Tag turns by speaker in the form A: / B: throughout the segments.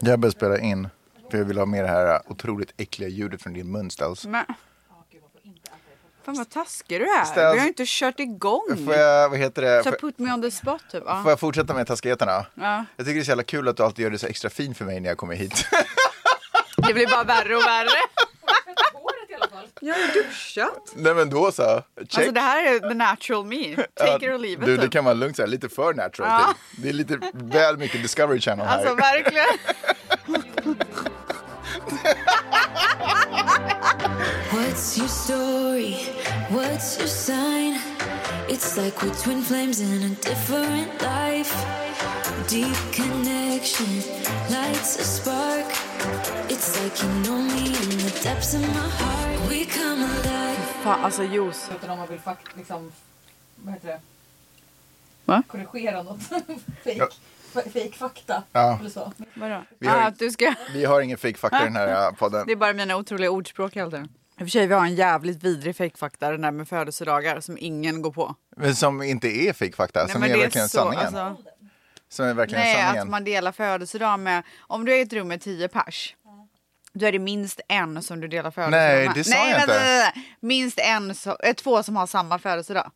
A: Jag börjar spela in, för jag vill ha med det här otroligt äckliga ljudet från din mun, Stelz.
B: Men... Fan vad taskig du är.
A: Ställs-
B: Vi har ju inte kört igång.
A: Får jag, vad heter det?
B: Så
A: Får,
B: put me on the spot typ. Ja.
A: får jag fortsätta med taskigheterna?
B: Ja.
A: Jag tycker det är så jävla kul att du alltid gör det så extra fin för mig när jag kommer hit.
B: Det blir bara värre och värre. Jag har ju duschat.
A: Nej men då så, check.
B: Alltså det här är the natural me. Take it or leave it.
A: du, det
B: typ.
A: kan vara lugnt så här, lite för natural.
B: Ja.
A: typ. Det är lite väl mycket Discovery Channel här.
B: Alltså verkligen.
C: What's your story? What's your sign? It's like we're twin flames in a different life. Deep connection lights a spark. It's like you know me in the depths of my heart. We come alive.
B: Fan alltså juice.
D: Utan om man vill fakt liksom, vad heter det?
B: Va?
D: Korrigera något. fake,
A: Ja.
D: fa- fake fakta.
A: Ja.
D: Eller så.
B: Vadå?
A: Vi har-
B: Ah, att du ska...
A: Vi har ingen fake fucker i den här eh, podden.
B: Det är bara mina otroliga ordspråk hela tiden. I och för sig vi har en jävligt vidrig fejkfakta den där med födelsedagar som ingen går på.
A: Men Som inte är fake fakta, som är verkligen sanningen.
B: alltså-
A: Som är verkligen
B: Nej,
A: sanningen.
B: att man delar födelsedag med... Om du är i ett rum med tio pers, då är det minst en som du delar födelsedag
A: Nej,
B: med.
A: det sa
B: nej,
A: jag
B: vänta,
A: inte.
B: Nej, nej, Minst en, så, eh, två som har samma födelsedag.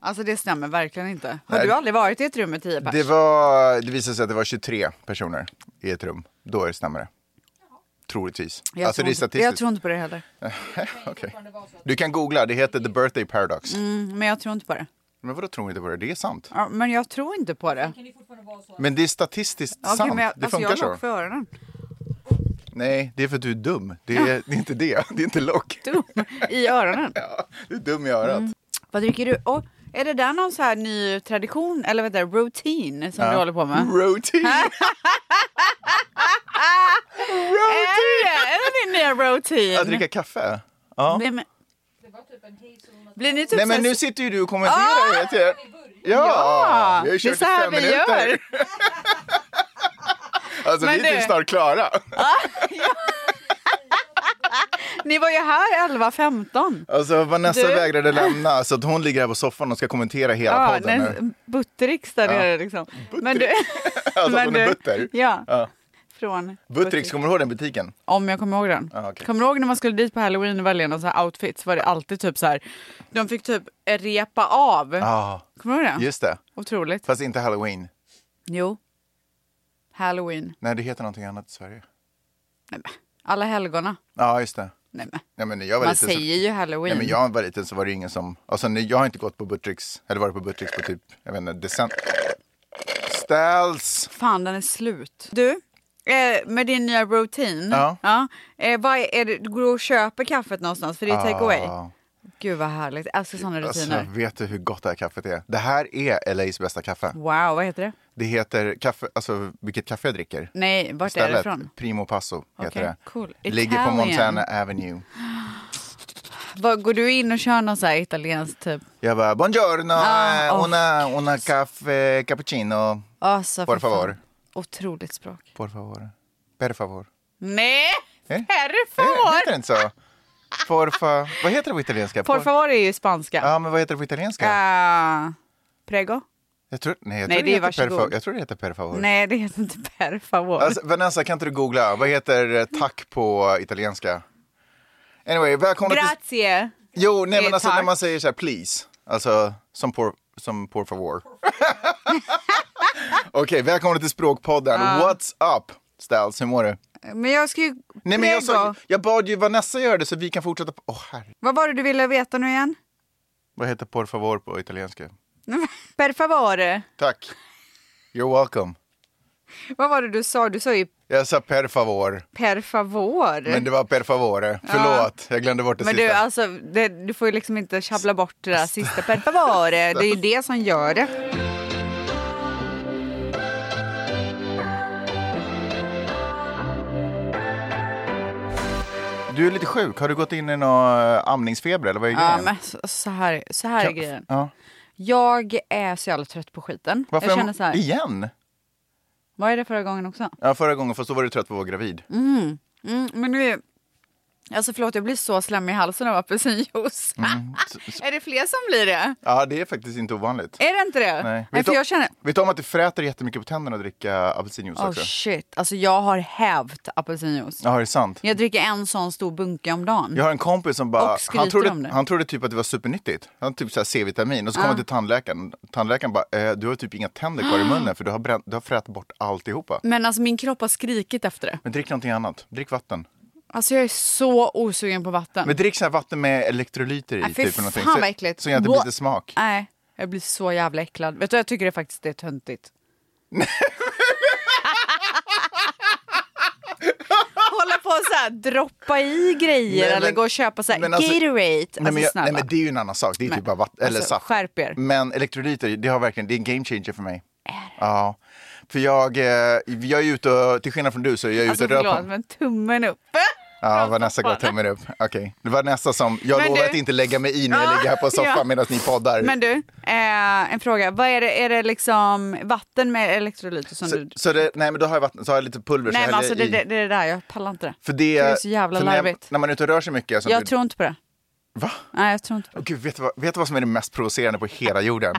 B: Alltså det stämmer verkligen inte. Har
A: Nej.
B: du aldrig varit i ett rum med tio pers?
A: Det, var, det visade sig att det var 23 personer i ett rum. Då är det snabbare. Troligtvis.
B: Jag,
A: alltså
B: tror
A: det är
B: inte-
A: statistiskt.
B: jag tror inte på det heller.
A: Okej. Du kan googla, det heter The Birthday Paradox.
B: Mm, men jag tror inte på det.
A: Men vadå tror inte på det? Det är sant.
B: Ja, men jag tror inte på det.
A: Men det är statistiskt
B: Okej,
A: sant.
B: men jag,
A: det
B: alltså,
A: funkar
B: jag har
A: så.
B: lock för öronen.
A: Nej, det är för att du är dum. Det är, det är inte det. Det är inte lock.
B: Du, Mm, I öronen.
A: Ja, du är dum i örat.
B: Vad dricker du? Och, är det där någon så här ny tradition eller vad heter det, routine som du håller på med?
A: Routine.
B: Är det det? Är det din nya routine?
A: Att dricka kaffe. Ja.
B: Blir, men... Blir ni typ
A: Nej men
B: så här-
A: nu sitter ju du och kommenterar. vet jag. Ja,
B: Ja,
A: vi har ju
B: det är
A: kört
B: så
A: i
B: här
A: fem
B: vi
A: minuter.
B: gör.
A: Alltså
B: Men
A: vi är
B: du-
A: typ snart klara.
B: Ni var ju här 11.15.
A: Alltså Vanessa
B: Du-
A: vägrade lämna så att hon ligger här på soffan och ska kommentera hela
B: Ja,
A: podden
B: när
A: nu.
B: Buttericks där
A: Ja.
B: nere liksom. Men du,
A: Buttericks. Alltså
B: men
A: att hon är
B: du-
A: butter.
B: Ja,
A: Ja.
B: från
A: Buttericks, kommer du ihåg den butiken?
B: Om jag kommer ihåg den.
A: Ja, okej.
B: Kommer du ihåg när man skulle dit på halloween och välja någon så här outfit så var det alltid typ så här. De fick typ repa av.
A: Ja,
B: Kommer du ihåg det?
A: just det.
B: Otroligt.
A: Fast inte halloween.
B: Jo. Halloween.
A: Nej, det heter någonting annat i Sverige.
B: Nej, men. Alla helgona.
A: Ja, just det.
B: Nej, men.
A: Ja, men när jag var
B: Man
A: liten så...
B: säger ju
A: Ja,
B: halloween.
A: men jag var liten så var det ingen som... Alltså, nej, jag har inte gått på Buttricks, eller varit på Buttricks på typ, jag vet inte, december. Ställs!
B: Fan, den är slut. Du, eh, med din nya routine.
A: Ja.
B: eh, vad är, är det, går du och köper kaffet någonstans? För det är take away.
A: Ah.
B: Gud vad härligt. Jag älskar sådana rutiner.
A: Alltså, vet du hur gott det här kaffet är? Det här är LAs bästa kaffe.
B: Wow, vad heter det?
A: Det heter kaffe, alltså vilket kaffe jag dricker.
B: Nej, vart är det
A: Stället,
B: ifrån?
A: Primo Passo heter
B: Okej,
A: det.
B: cool.
A: Ligger på
B: Italian.
A: Montana Avenue.
B: Vad, går du in och kör någon så här italiensk typ?
A: Jag bara, buongiorno,
B: Ah,
A: eh,
B: åh.
A: una, una caffe cappuccino.
B: Alltså,
A: Por
B: för fan.
A: favor.
B: Otroligt språk.
A: Por favor. Per favor.
B: Nej!
A: Eh? Eh,
B: Per favor!
A: heter det inte så? Porfa. Vad heter det på italienska?
B: Por favor är ju spanska.
A: Ja, men vad heter det på italienska?
B: Ah, prego?
A: Jag tror, nej, jag
B: Nej,
A: tror
B: det är
A: heter per
B: varsågod.
A: favor. Jag tror det heter per favor.
B: Nej, det heter inte per favor.
A: Alltså, Vanessa, kan inte du googla? Vad heter eh, tack på italienska? Anyway, välkomna till...
B: Grazie!
A: Jo, nej,
B: Eh,
A: men alltså när
B: tack.
A: man säger så här please, alltså som por, som por favor. Okej, välkomna till Språkpodden. What's up, Stals? Hur mår du?
B: Men jag ska ju...
A: Nej, men jag, sa,
B: Prego.
A: jag bad ju Vanessa göra det så vi kan fortsätta. på- Åh, herre.
B: Vad var det du ville veta nu igen?
A: Vad heter por favor på italienska?
B: Per favore.
A: Tack. You're welcome.
B: Vad var det du sa? Du sa ju
A: Jag sa per favor,
B: per favor.
A: men det var per favore. Förlåt, jag glömde bort det
B: Men
A: sista.
B: du, alltså, det, du får ju liksom inte sjabbla bort det där sista per favore. Det är ju det som gör det.
A: Du är lite sjuk. Har du gått in i någon eh, amningsfeber eller vad är
B: Ja,
A: grejen?
B: men så, så, här, så här är grejen.
A: Ja.
B: Jag är så jävla trött på skiten.
A: Varför
B: jag känner så här,
A: Igen?
B: var är det förra gången också?
A: Ja, förra gången, fast då var du trött på att vara gravid.
B: Mm, men nu, Alltså förlåt, jag blir så slemmig i halsen av apelsinjuice.
A: Mm.
B: är det fler som blir det?
A: Ja, det är faktiskt inte ovanligt.
B: Är det inte det?
A: Nej.
B: Nej
A: Vet,
B: för
A: du,
B: jag känner...
A: vet du om att det fräter jättemycket på tänderna att dricka apelsinjuice
B: Oh
A: också?
B: shit, alltså jag har hävt apelsinjuice.
A: Ja, det är sant.
B: Jag dricker en sån stor bunke om dagen.
A: Jag har en kompis som bara,
B: Och skryter
A: han
B: om det.
A: trodde, han trodde typ att det var supernyttigt. Han typ så här C-vitamin och så kom han till tandläkaren. Tandläkaren bara, eh, du har typ inga tänder kvar
B: Ah.
A: i munnen för du har, bränt, du har frätt bort alltihopa.
B: Men alltså min kropp har skrikit efter det.
A: Men drick någonting annat, drick vatten.
B: Alltså jag är så osugen på vatten.
A: Men drick så här vatten med elektrolyter i.
B: Nej, Äh, fy
A: typ, eller någonting.
B: fan,
A: så,
B: vad äckligt.
A: Så jag inte
B: Bå-
A: blir lite smak.
B: Nej, jag blir så jävla äcklad. Vet du, jag tycker det faktiskt det är töntigt. Hålla på och så här, droppa i grejer
A: Nej, men-
B: eller gå och köpa så här,
A: men alltså-
B: Gatorade.
A: nej,
B: Alltså
A: men jag,
B: snälla.
A: nej men det är ju en annan sak, det är
B: Men-
A: typ bara vatten, eller Mm,
B: alltså,
A: saft.
B: skärp er.
A: Men elektrolyter, det har verkligen, det är en game changer för mig. Ja. För jag, eh, jag är ju ute och, till skillnad från du så är jag
B: alltså
A: ute och rör på
B: förlåt, men tummen upp.
A: Ja, Vanessa gav tummen upp. Okej, det var nästa som, jag
B: Men
A: lovar
B: du-
A: att inte lägga mig i när jag
B: Ah,
A: ligger här på soffan
B: ja.
A: medan ni poddar.
B: Men du, eh, en fråga. Vad är det, är det liksom vatten med elektrolyter som
A: så,
B: du...
A: så det, nej men då har jag vatten, så har jag lite pulver så
B: Nej
A: jag
B: men
A: häller
B: alltså det,
A: i.
B: det, det är det där, jag pallar inte det.
A: för det,
B: det är så jävla
A: för när jag-
B: larvigt.
A: När man är ute och rör sig mycket. Som
B: Jag
A: du,
B: tror inte på det.
A: Va?
B: Nej, jag tror inte på det.
A: Åh, Gud, vet, du vad, vet du vad som är det mest provocerande på hela jorden?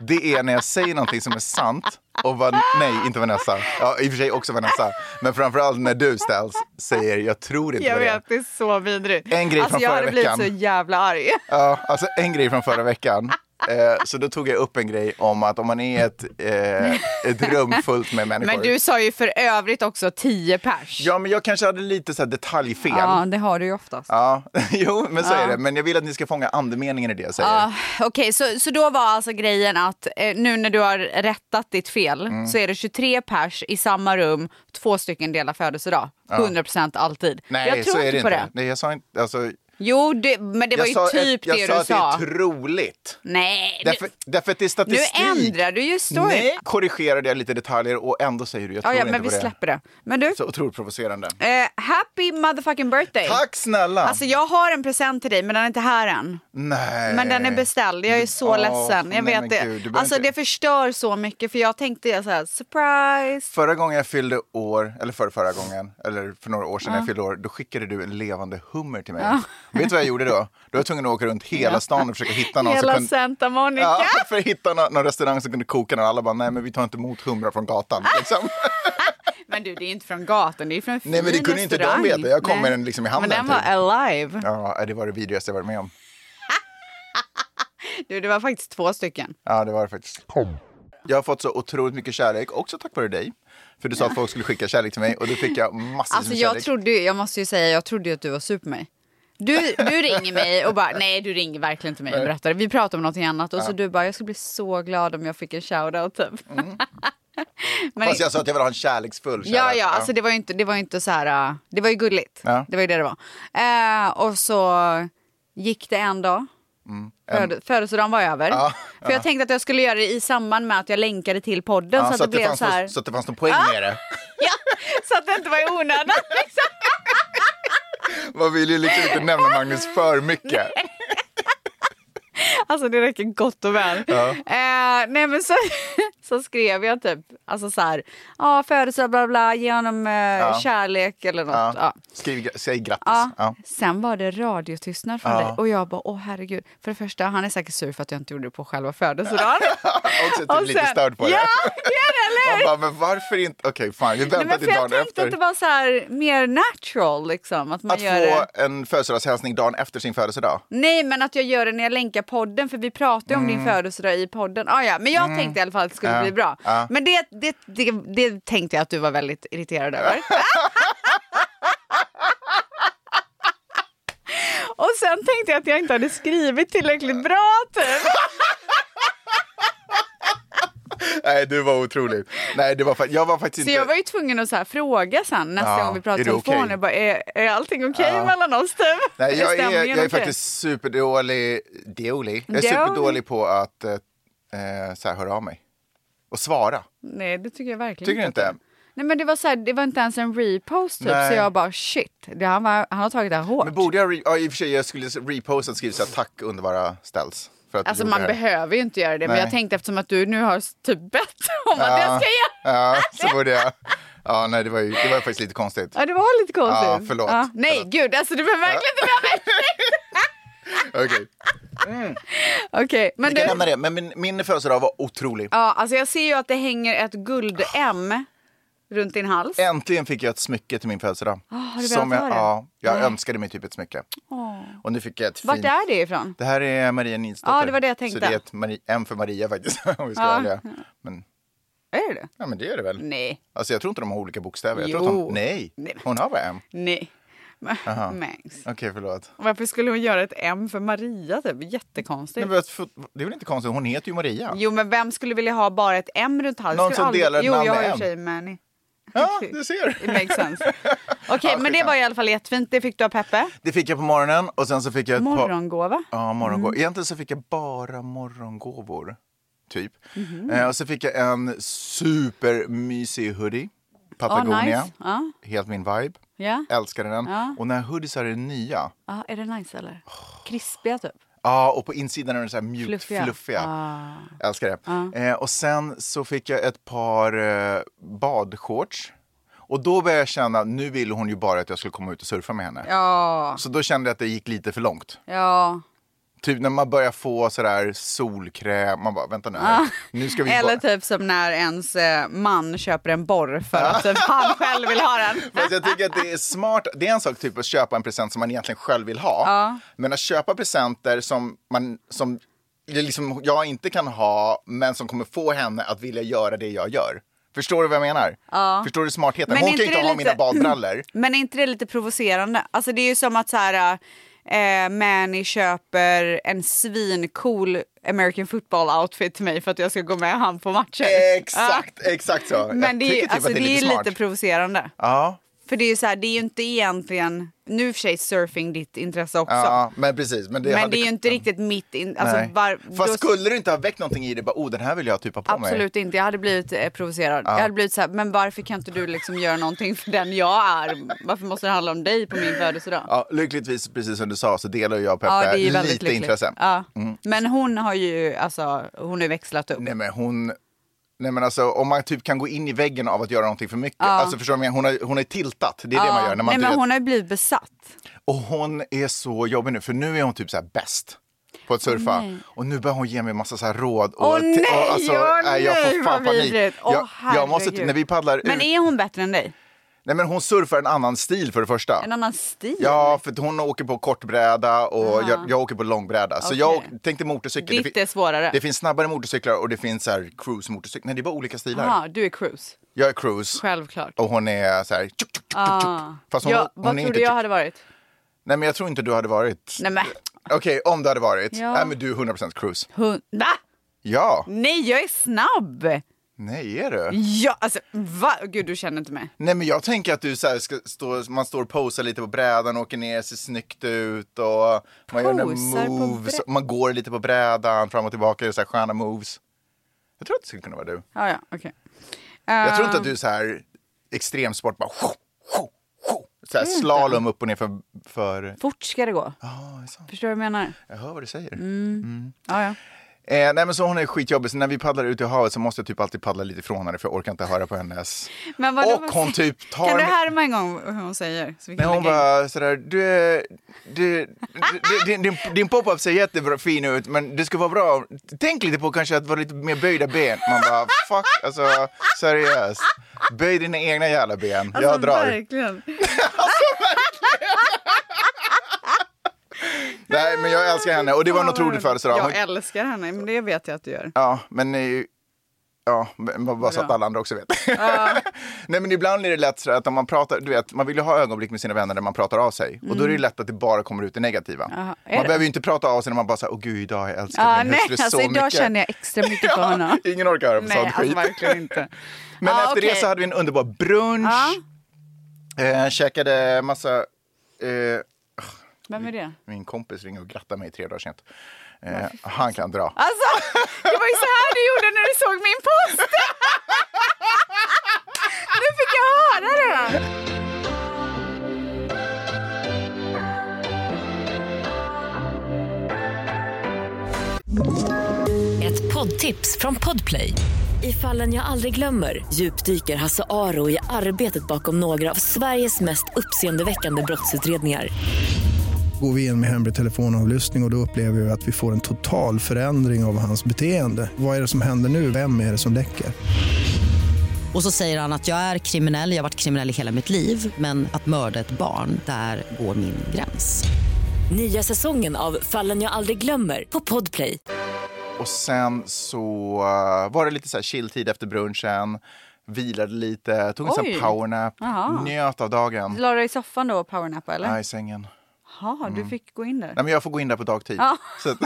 A: Det är när jag säger någonting som är sant och vad, nej, inte Vanessa. Ja, i och för sig också Vanessa. Men framförallt när du ställs säger jag tror inte på
B: Jag
A: det.
B: vet, det är så vidrigt.
A: En grej
B: alltså
A: från
B: jag
A: förra
B: hade blivit
A: veckan.
B: så jävla arg.
A: Ja, alltså en grej från förra veckan. Eh, så då tog jag upp en grej om att om man är i ett, eh, ett rum fullt med människor.
B: Men du sa ju för övrigt också 10 pers.
A: Ja, men jag kanske hade lite så här detaljfel.
B: Ja,
A: Ja.
B: det har du ju oftast.
A: jo, men så är
B: Ja.
A: det. Men jag vill att ni ska fånga andemeningen i det jag säger.
B: Ja, Ah, Okej, så, så då var alltså grejen att eh, nu när du har rättat ditt fel
A: Mm.
B: så är det 23 pers i samma rum, två stycken delar födelsedag. 100% alltid.
A: Nej,
B: jag tror
A: så är
B: inte
A: det
B: på
A: inte.
B: det.
A: Nej, jag sa inte... Alltså, det
B: Jo, det, men det var
A: jag
B: ju
A: sa
B: typ
A: ett, jag
B: det
A: sa
B: du
A: att
B: sa.
A: det är troligt.
B: Nej, nu,
A: Därför, därför att det är
B: nu
A: statistik.
B: ändrar du ju story.
A: Nej, korrigerade jag lite detaljer och ändå säger du jag
B: Ja,
A: tror
B: ja,
A: inte
B: men vi
A: på det.
B: släpper det. Men du,
A: Så otroligt provocerande.
B: eh, happy motherfucking birthday.
A: Tack snälla!
B: Alltså jag har en present till dig men den är inte här än.
A: Nej.
B: Men den är beställd, jag är så
A: Eh, Åh,
B: ledsen. Jag
A: nej,
B: vet
A: men
B: det.
A: gud, du behöver
B: alltså
A: inte-
B: det förstör så mycket för jag tänkte jag så här, surprise.
A: Förra gången jag fyllde år, eller förra, förra gången, eller för några år sedan jag fyllde år, då skickade du en levande hummer till mig. Vet du vad jag gjorde då? Då var jag tvungen att åka runt hela stan och försöka hitta någon
B: Hela
A: som kunde...
B: Santa Monica.
A: Ja, för att hitta någon, någon restaurang som kunde koka den. Alla bara, nej men vi tar inte emot humrar från gatan.
B: Ah.
A: Liksom.
B: Men du det är inte från gatan, det är från en fin
A: Nej, men det kunde ju inte de
B: restaurang.
A: veta. Jag kom
B: Nej.
A: med den liksom i handen
B: Men den var
A: typ.
B: alive.
A: Ja, det var det vidrigaste jag varit med om.
B: Du det var faktiskt två stycken.
A: Ja, det var det faktiskt. Jag har fått så otroligt mycket kärlek, också tack vare dig. För du sa att folk skulle skicka kärlek till mig och då fick jag massor
B: Alltså
A: med
B: jag
A: kärlek.
B: trodde ju, jag måste ju säga, jag trodde ju att du var sur på mig. Du, du ringer mig och bara, nej du ringer verkligen inte mig och berättar. Vi pratar om någonting annat och så du bara, jag skulle bli så glad om jag fick en shoutout typ. Men,
A: Mm. Fast jag sa att jag ville ha en kärleksfull kärlek.
B: ja, ja, alltså det var ju inte, det var ju inte så här, äh, det var ju gulligt.
A: Ja.
B: Det var ju det det var. Eh, och så gick det en dag. Föd- Födelsedagen var över.
A: Mm, Ja,
B: För jag tänkte att jag skulle göra det i samband med att jag länkade till podden.
A: Ja,
B: så, att det, blev
A: fanns
B: så här. Ah!
A: någon, så att det fanns någon poäng med det.
B: Ja, så att det inte var i onödan. Liksom.
A: Man vill ju liksom inte nämna Magnus för mycket.
B: Alltså det räcker gott och väl. Eh, nej men så, så skrev jag typ, alltså så här, ja födelsedag bla bla, ge honom eh, kärlek eller något.
A: Ja.
B: Ja.
A: Skriv, säg grattis.
B: Ja.
A: Ja.
B: Sen var det radiotystnad från
A: Ja.
B: dig och jag bara, åh herregud. För det första, han är säkert sur för att jag inte gjorde det på själva födelsedagen.
A: Också typ lite störd på det.
B: Ja, det är det, eller
A: Man
B: hur?
A: bara, men varför inte? Okej, fan, vi
B: Nej,
A: väntar
B: men för
A: till dagen
B: jag tänkte
A: efter.
B: att det var så här mer natural liksom. Att man
A: Att
B: gör det.
A: få en födelsedagshälsning dagen efter sin födelsedag.
B: Nej, men att jag gör det när jag länkar podden, för vi pratar ju om din födelsedag i podden. Ah, ja, men jag tänkte i alla fall att det skulle
A: Mm. Ja,
B: bli bra.
A: ja.
B: Men det, det, det, det tänkte jag att du var väldigt irriterad över. Och sen tänkte jag att jag inte hade skrivit tillräckligt bra, typ.
A: Nej, du var otrolig. Nej, det var, fa- jag var faktiskt
B: Så
A: inte...
B: jag var ju tvungen att så här fråga sen nästa
A: Ja,
B: gång vi
A: är
B: pratade
A: det
B: i telefon.
A: okej?
B: Jag bara, är, är allting okej
A: Ja.
B: mellan oss, typ?
A: Nej, jag är,
B: stämningen
A: jag är
B: okej?
A: faktiskt superdålig. Dålig. Jag är
B: Dålig.
A: superdålig på att eh, eh, så här, höra av mig. Och svara.
B: Nej, det tycker jag verkligen
A: Tycker du
B: att det är.
A: inte?
B: Nej men det var, så här, det var inte ens en repost typ,
A: Nej.
B: så jag bara shit, det, han, var, han har tagit det här hårt.
A: Men borde jag... Re- ja, i och för sig, jag skulle reposta och skriva så här, tack underbara ställs. för att
B: Alltså
A: du gjorde
B: man
A: det här.
B: behöver ju inte göra det, men
A: Nej.
B: jag tänkte eftersom att du nu har typ bett om att jag ska göra
A: Ja, så borde jag. Ja, nej, det var ju det var faktiskt lite konstigt.
B: Ja, det var lite konstigt.
A: Ja, förlåt.
B: nej,
A: Förlåt.
B: gud, alltså du behöver verkligen inte be om ursäkt.
A: Okej,
B: Okej, men
A: vi kan
B: du.
A: lämna det. Men min, min födelsedag var otrolig.
B: Ja, alltså jag ser ju att det hänger ett guld-M runt din hals.
A: Äntligen fick jag ett smycke till min födelsedag.
B: Ah, har du
A: Som
B: velat
A: jag,
B: ha det?
A: ja, jag önskade mig typ ett smycke. Och nu fick jag ett
B: Vart
A: fint...
B: är det ifrån?
A: Det här är Maria Nilsdotter.
B: Ja, det var det jag tänkte.
A: Så det är ett Mari- en för Maria faktiskt, om vi ska
B: Ja.
A: vara ärliga. Men,
B: Är det det?
A: ja, men det är det väl?
B: Nej,
A: Alltså jag tror inte de har olika bokstäver. Jag tror
B: Jo.
A: att de, nej,
B: Nej.
A: hon har bara en.
B: nej.
A: Aha.
B: Mängs.
A: Okej, förlåt.
B: Varför skulle hon göra ett M för Maria? Typ?
A: Nej,
B: Jättekonstigt.
A: men för- Det är väl inte konstigt, hon heter ju Maria.
B: Jo, men vem skulle vilja ha bara ett M runt halsen?
A: Någon
B: Skulle
A: som delar ett
B: jo,
A: namn
B: jag
A: med
B: har i och
A: M.
B: för sig Manny.
A: Ja, du ser.
B: It makes sense. Okej,
A: Ja,
B: men det
A: skitsamma.
B: var i alla fall jättefint. Det fick du av Peppe.
A: Det fick jag på morgonen och sen så fick jag ett par...
B: Morgongåva.
A: Ja, morgongåvor.
B: Mm.
A: Egentligen så fick jag bara morgongåvor, typ.
B: Mhm.
A: Eh, och så fick jag en supermysig hoodie, Patagonia.
B: Ah, nice. Ja.
A: Helt min vibe.
B: Ja.
A: Älskade den.
B: Ja.
A: Och när hoodies är det nya.
B: Ja, är det nice eller? Krispiga typ?
A: Ja, och på insidan är de så här mjukt fluffiga.
B: Fluffiga. Ah.
A: Älskar det. Eh, och sen så fick jag ett par eh, badshorts. Och då började jag känna, nu ville hon ju bara att jag skulle komma ut och surfa med henne.
B: Ja,
A: Så då kände jag att det gick lite för långt.
B: ja.
A: Typ när man börjar få sådär solkräm, man bara vänta nu här. Nu ska vi
B: Ah. Eller
A: bara...
B: typ som när ens eh, man köper en borr för att typ, han själv vill ha den.
A: Fast jag tycker att det är smart, det är en sak typ att köpa en present som man egentligen själv vill ha. Men att köpa presenter som, man, som liksom jag inte kan ha, men som kommer få henne att vilja göra det jag gör. Förstår du vad jag menar? Förstår du smartheten?
B: Men
A: Hon
B: inte
A: kan ju inte
B: det
A: ha
B: lite-
A: mina badbrallor.
B: Men är inte det lite provocerande? Alltså det är ju som att så här, eh, Manny köper en svincool American football outfit till mig för att jag ska gå med han på matcher.
A: Exakt, exakt så.
B: Ja.
A: jag
B: Men det är,
A: tycker
B: ju-
A: typ
B: alltså,
A: att
B: det är ju
A: smart.
B: lite provocerande.
A: ja,
B: För det är ju så här, det är ju inte egentligen, nu i och för sig är surfing ditt intresse också.
A: ja, men precis. Men det,
B: men
A: hade-
B: det är ju inte riktigt mitt... In, alltså,
A: Nej.
B: var,
A: Fast
B: då-
A: skulle du inte ha väckt någonting i det? Bara, oh, den här vill jag typ ha på mig.
B: Absolut inte, jag hade blivit eh, provocerad. Jag hade blivit så här, men varför kan inte du liksom göra någonting för den jag är? Varför måste det handla om dig på min födelsedag?
A: Ja, lyckligtvis, precis som du sa, så delar jag och Peppe
B: Ja, det är ju
A: lite
B: väldigt lyckligt.
A: intresse.
B: Ja. Men hon har ju alltså, hon har ju växlat upp.
A: Nej, men hon... Nej, men alltså, om man typ kan gå in i väggen av att göra någonting för mycket. Alltså, förstår du, vad jag menar? hon, har, hon är tiltat, det är det
B: Ja.
A: man gör. När man
B: Nej,
A: inte
B: men
A: vet.
B: hon har ju blivit besatt.
A: Och hon är så jobbig nu, för nu är hon typ så här bäst på att surfa. Och nu börjar hon ge mig massa så här råd. Och
B: Åh, nej,
A: och
B: åh,
A: nej, jag
B: nej,
A: får fan
B: vad
A: panik.
B: vidrigt. Åh,
A: jag, jag måste,
B: herregud.
A: när vi paddlar
B: Men
A: ut...
B: är hon bättre än dig?
A: Nej, men hon surfar en annan stil för det första.
B: En annan stil?
A: Ja, för att hon åker på kortbräda och jag, jag åker på långbräda. Så jag
B: Okej.
A: åk- tänkte motorcykel.
B: Ditt
A: fi-
B: är svårare?
A: Det finns snabbare motorcyklar och det finns så här cruise motorcyklar. Nej, det är bara olika stilar.
B: Aha, du är cruise,
A: Jag är cruise
B: självklart.
A: och hon är så här... Tjuk, tjuk, tjuk, tjuk, tjuk.
B: Ah.
A: Fast hon,
B: ja,
A: hon
B: vad
A: är
B: tror
A: inte
B: du jag
A: tjuk.
B: hade varit?
A: Nej, men jag tror inte du hade varit.
B: Nej men,
A: Okej, om du hade varit.
B: Ja.
A: Nej, men du är 100% cruise.
B: hon, va?
A: Ja.
B: Nej, jag är snabb!
A: Nej, är du?
B: Ja, alltså va? Gud, du känner inte mig.
A: Nej, men jag tänker att du så här ska stå, man står och posar lite på brädan, åker ner, ser snyggt ut och man gör
B: Posar
A: några
B: på
A: moves.
B: brä-
A: Man går lite på brädan, fram och tillbaka, gör så här sköna moves. Jag tror att det skulle kunna vara du.
B: Ah, ja, okej.
A: Jag tror
B: Ah.
A: inte att du är så här extremsport, bara sjo, sjo, sjo. Så här slalom upp och ner för... för...
B: Fort ska det gå.
A: Ja, det är sant.
B: Förstår du vad jag menar?
A: jag hör vad du säger.
B: Ah, ja.
A: Eh, nej men så hon är skitjobbig, så när vi paddlar ut i havet så måste jag typ alltid paddla lite ifrån henne för jag orkar inte höra på hennes...
B: Men vadå,
A: och
B: vad-
A: hon typ tar...
B: Kan du
A: mig-
B: härma en gång hur hon säger? Så vi
A: Nej,
B: kan
A: hon
B: lägga in?
A: bara sådär, du, är- du, du, din, din, din pop-up ser jättefin ut men det skulle vara bra, tänk lite på kanske att vara lite mer böjda ben. Man bara fuck, alltså seriöst. Böj dina egna jävla ben, jag
B: Alltså,
A: drar.
B: Verkligen.
A: Nej men jag älskar henne och det var en
B: Ja,
A: otrolig
B: vad-
A: födelsedag. Hon-
B: Jag älskar henne, men det vet jag att du gör.
A: Ja, men... eh, Ja, men bara så att
B: Bra.
A: alla andra också vet. Nej, men ibland är det lätt så att om man pratar, du vet, man vill ju ha ögonblick med sina vänner när man pratar av sig. Och då är det ju lätt att det bara kommer ut det negativa.
B: Mm. Jaha, är
A: man
B: det?
A: behöver ju inte prata av sig när man bara säger, åh gud, idag har jag älskat
B: Ah,
A: min
B: nej,
A: hustru
B: alltså
A: så
B: idag
A: mycket.
B: känner jag extra mycket för honom.
A: Ingen orkar höra på
B: Nej,
A: sån
B: alltså,
A: skit.
B: verkligen inte.
A: Men
B: Ah,
A: efter det
B: okej. Ah.
A: så hade vi en underbar brunch. Eh, käkade massa... Eh,
B: Vem är det?
A: min kompis ringer och grattar mig tre dagar sent. Eh, han kan dra.
B: Alltså, det var ju så här du gjorde när du såg min post! nu fick jag höra det!
E: Ett tips från Podplay. I fallen jag aldrig glömmer djupdyker Hasse Aro i arbetet bakom några av Sveriges mest uppseendeväckande brottsutredningar.
F: Går vi in med hemlig telefonavlyssning och, och då upplever vi att vi får en total förändring av hans beteende. Vad är det som händer nu? Vem är det som läcker?
G: Och så säger han att jag är kriminell, jag har varit kriminell i hela mitt liv men att mörda ett barn, där går min gräns.
E: Nya säsongen av Fallen jag aldrig glömmer på Podplay.
A: Och sen så eh, var det lite så här chilltid efter brunchen. Vilade lite, tog en sån
B: Oj.
A: här powernap,
B: Jaha.
A: njöt av dagen.
B: La dig i soffan då och powernappa eller?
A: Nej, Mm. i sängen.
B: Jaha, du fick gå in där.
A: Nej, men jag får gå in där på dagtid.
B: Ja.
A: Så att,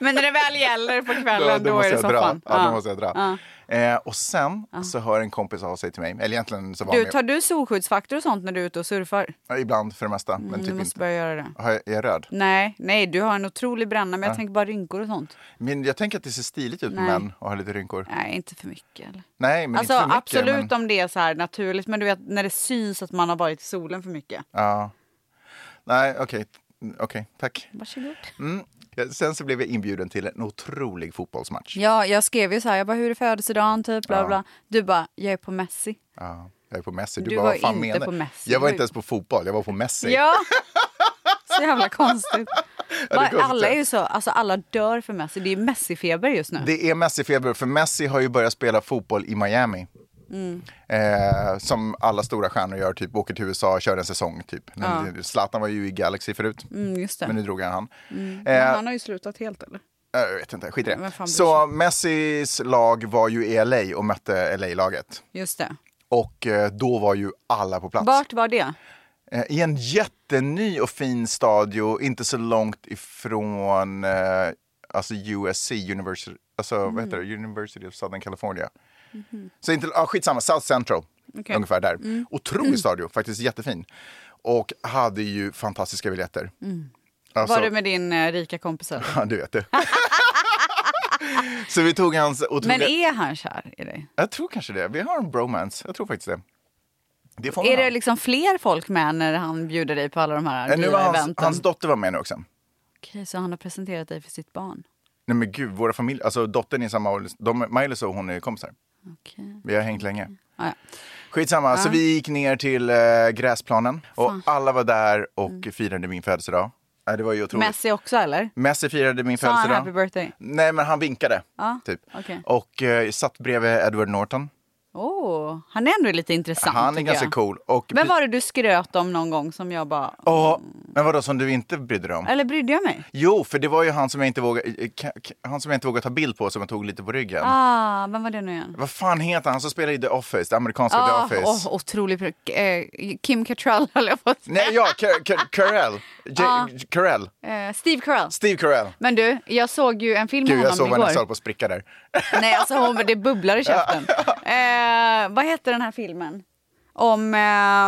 B: Men när det väl gäller på kvällen
A: Ja,
B: då,
A: måste
B: är det
A: jag dra.
B: soffan.
A: Ja, då måste jag dra. Eh, och sen så hör en kompis av sig till mig. Eller egentligen så var
B: Du,
A: han
B: tar du solskyddsfaktor och sånt när du är ute och surfar?
A: med, ibland för det mesta. Men
B: Mm, du
A: typ
B: måste
A: inte.
B: börja göra det.
A: Har jag, är jag röd?
B: Nej, nej, du har en otrolig bränna men jag tänker bara rynkor och sånt.
A: Men jag tänker att det ser stiligt ut med
B: Nej.
A: män och har lite rynkor.
B: Nej, inte för mycket. Eller?
A: Nej, men
B: Alltså
A: inte för mycket.
B: absolut
A: Men,
B: om det är så här naturligt men du vet när det syns att man har varit i solen för mycket.
A: ja. Nej, okej. Okej, tack.
B: Varsågod.
A: Mm. Ja, Sen så blev jag inbjuden till en otrolig fotbollsmatch.
B: Ja, jag skrev ju så här, jag bara hur är födelsedagen typ bla bla. Du bara, jag är på Messi.
A: Ja, jag är på Messi. Du,
B: Du
A: bara,
B: var
A: vad fan
B: inte
A: menar
B: på
A: du?
B: Messi.
A: Jag var
B: Du-
A: inte ens på fotboll, jag var på Messi.
B: Ja! Så jävla konstigt.
A: är
B: Bara,
A: konstigt.
B: alla är ju så, alltså alla dör för Messi. Det är Messi-feber just nu.
A: Det är Messi-feber, för Messi har ju börjat spela fotboll i Miami.
B: Mm.
A: Eh, som alla stora stjärnor gör, typ åker till USA och kör en säsong. Typ. Men det- Zlatan var ju i Galaxy förut,
B: Mm, just det.
A: men nu drog han han.
B: Men
A: Eh,
B: han har ju slutat helt eller?
A: Jag vet inte, skit i
B: Vem
A: det.
B: fan bryr
A: Så Messis lag var ju i LA och mötte LA-laget.
B: Just det.
A: Och eh, då var ju alla på plats.
B: Vart var det?
A: Eh, I en jätteny och fin stadio, inte så långt ifrån eh, alltså USC, University, alltså, vad heter
B: Mm.
A: det? University of Southern California. Så inte, ah, skitsamma, South Central,
B: Mhm. Okej. Mm.
A: ungefär där. Otrolig stadio, faktiskt jättefin. Och hade ju fantastiska biljetter. Alltså-
B: Mm. Var du med din eh, rika kompis? eller?
A: Ja, du vet det. så vi tog hans
B: Men
A: otroliga...
B: är han kär i dig?
A: Jag tror kanske det. Vi har en bromance. Jag tror faktiskt det. Det får man
B: Är
A: ha.
B: det liksom fler folk med när han bjuder dig på alla de här
A: Äh, Nu
B: dyra
A: var hans,
B: eventen?
A: hans dotter var med nu också.
B: Okej, så han har presenterat dig för sitt barn?
A: Nej men gud, våra familjer, alltså dottern är samma ålder, de, Miles och hon är kompisar.
B: Okej.
A: Vi har hängt länge.
B: Ah, ja.
A: Skitsamma, så vi gick ner till eh, gräsplanen och alla var där och firade min födelsedag. Äh, det var ju otroligt.
B: Mm. Messi också eller?
A: Messi firade min
B: Sa han
A: födelsedag.
B: happy birthday?
A: Nej men han vinkade,
B: Ja,
A: typ.
B: okej.
A: Och eh, satt bredvid Edward Norton.
B: Åh, han är ändå lite intressant
A: han är
B: tycker
A: ganska
B: jag.
A: cool. Och
B: Vem var det du skröt om någon gång som jag bara...
A: Ja, men vadå som du inte brydde dig om?
B: Eller brydde jag mig?
A: Jo, för det var ju han som jag inte vågade, eh, ka- ka- han som jag inte vågade ta bild på som jag tog lite på ryggen.
B: Ah, vem var det nu igen?
A: Vad fan heter han som spelar i The Office, det amerikanska
B: Ah,
A: The Office?
B: åh, otrolig... pro- Eh, Kim Cattrall höll jag på att säga.
A: Nej, ja, Car- Car- Carell. J- Carell.
B: Eh, Steve Carell.
A: Steve Carell.
B: Men du, jag såg ju en film med
A: Gud, jag
B: honom
A: såg vad
B: igår.
A: Vanessa höll på att spricka där.
B: Nej, alltså hon, det bubblar i käften. Eh, vad hette den här filmen? Om eh,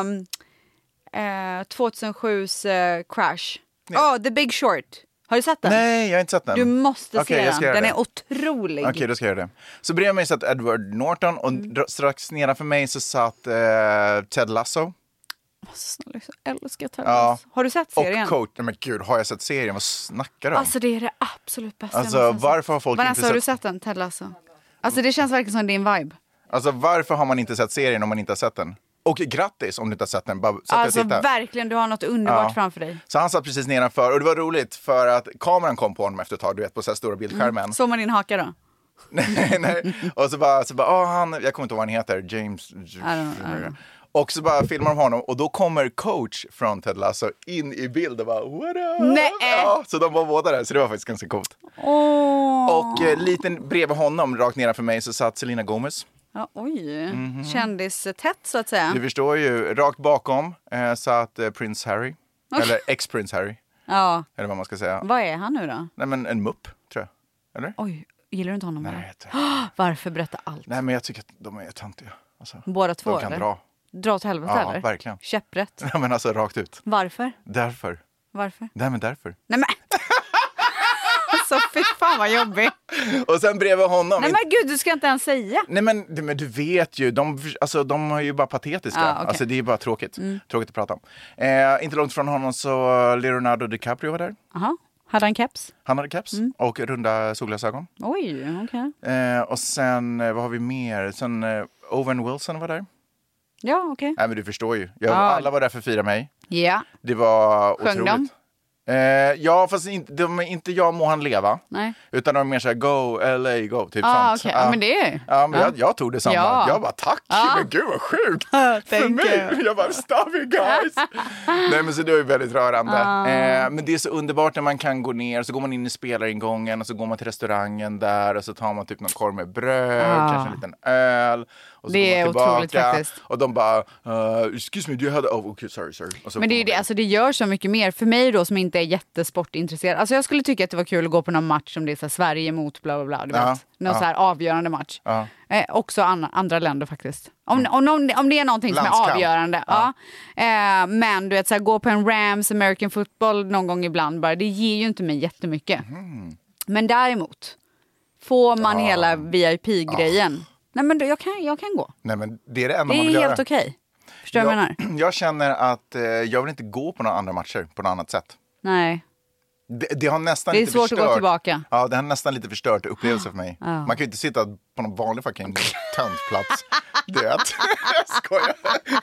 B: eh, 2007s eh, crash. Ja, The Big Short. Har du sett den?
A: Nej, jag har inte sett den.
B: Du måste
A: Okej,
B: se
A: jag ska göra
B: den. Den
A: det.
B: är otrolig.
A: Okej, då ska jag göra det. Så bredvid mig satt Edward Norton och
B: Mm.
A: dra- strax nedanför mig så satt eh, Ted Lasso.
B: Snälla, jag så älskar Ted
A: Ja.
B: Lasso. Har du sett
A: Och
B: serien?
A: coach. Nej, men gud, har jag sett serien? Vad snackar du om?
B: Alltså det är det absolut bästa
A: Alltså,
B: jag någonsin
A: varför
B: sett.
A: har folk
B: Vanessa,
A: inte
B: har du
A: sett-
B: sett den? Ted Lasso. Alltså det känns verkligen som din vibe.
A: Alltså varför har man inte sett serien om man inte har sett den? Och grattis om du inte har sett den. Bara sätt dig och
B: Alltså
A: titta.
B: verkligen, du har något underbart
A: Ja.
B: framför dig.
A: Så han satt precis nedanför och det var roligt för att kameran kom på honom efter ett tag, du vet på så här stora bildskärmen.
B: Såg man din haka då?
A: Nej, nej. Och så bara, så bara ah, han, jag kommer inte ihåg vad han heter, James...
B: don't know.
A: Och så bara filmar de honom och då kommer coach från Ted Lasso in i bild och bara what up?
B: Nej.
A: Ja, så de var båda där, så det var faktiskt ganska coolt.
B: Åh!
A: Och eh, lite bredvid honom, rakt nedanför mig, så satt Selena Gomez.
B: Ja, oj.
A: Mhm.
B: Kändistätt så att säga.
A: Du förstår ju, rakt bakom eh, satt eh, Prince Harry. Eller ex-Prince Harry,
B: Ja.
A: eller vad man ska säga.
B: Vad är han nu då?
A: Nej men en mupp, tror jag. Eller?
B: Oj, gillar du inte honom?
A: Nej, jag
B: eller?
A: vet inte.
B: Varför berätta allt?
A: Nej men jag tycker att de är töntiga. Alltså,
B: Båda två
A: de kan
B: eller?
A: dra.
B: Dra åt helvete
A: Ja,
B: eller?
A: verkligen.
B: Käpprätt.
A: Nej, men alltså rakt ut.
B: Varför?
A: Därför.
B: Varför?
A: Nej men därför.
B: Nej men! alltså fy fan vad jobbig.
A: Och sen bredvid honom.
B: Nej men gud, du ska inte ens säga.
A: Nej men, du- men du vet ju, de, alltså, de är ju bara patetiska.
B: Ah, okej. Mm.
A: Alltså det är bara tråkigt. Tråkigt att prata om. Eh, inte långt från honom så Leonardo DiCaprio var där.
B: Aha. Hade han keps?
A: Han hade keps
B: Mm.
A: och runda solglasögon.
B: Oj, okej.
A: Eh, och sen, eh, vad har vi mer? Sen eh, Owen Wilson var där.
B: Ja, okej.
A: Nej men du förstår ju. Jag,
B: Ja.
A: Alla var där för att fira mig.
B: Ja,
A: Det var
B: Ah. Sjöng
A: otroligt. Eh, ja, fast inte, de, är inte jag må han leva.
B: nej.
A: Utan de är mer såhär go LA go, typ
B: Ah,
A: sånt.
B: okej.
A: Ja.
B: Ja, men det är ju...
A: Ja, men Jag, jag tog detsamma.
B: Ja.
A: Jag bara tack,
B: Ja.
A: men gud vad sjukt. För
B: Thank
A: mig.
B: you.
A: Jag bara stop it guys. Nej men så det var ju väldigt rörande. Eh, men det är så underbart när man kan gå ner, så går man in i spelaringången och så går man till restaurangen där och så tar man typ någon korv med bröd,
B: Ah.
A: kanske en liten öl. Och så
B: Det
A: går man
B: är
A: tillbaka,
B: otroligt faktiskt.
A: Och de bara, uh, excuse me, do you have, oh okay, sorry, sorry. Och så
B: Men det, är ju
A: går
B: det,
A: man
B: alltså det gör så mycket mer. För mig då som inte är jättesportintresserad. Alltså jag skulle tycka att det var kul att gå på någon match som det är så här Sverige mot bla bla bla. Du
A: Ja,
B: vet. Någon
A: ja.
B: så här avgörande match.
A: Ja. Mm.
B: Eh, också an- andra länder faktiskt. Om, om, om, om det är någonting som
A: Landskamp.
B: är avgörande. Ja. Eh, men du vet, så här, gå på en Rams American football någon gång ibland bara. Det ger ju inte mig jättemycket.
A: Mm-hmm.
B: Men däremot, får man hela VIP-grejen. Nej men då, jag kan, jag kan gå.
A: Nej men det är det enda
B: Det
A: Ah. man vill
B: är helt
A: göra.
B: okej. Förstår du vad jag menar?
A: jag, jag känner att eh, jag vill inte gå på några andra matcher på något annat sätt.
B: Nej.
A: Det, det har nästan
B: Det är
A: lite
B: svårt att gå
A: förstört.
B: tillbaka.
A: Ja, det har nästan lite förstört upplevelse för mig. Man kan ju inte sitta på någon vanlig fucking töntplats. Du vet. jag skojar.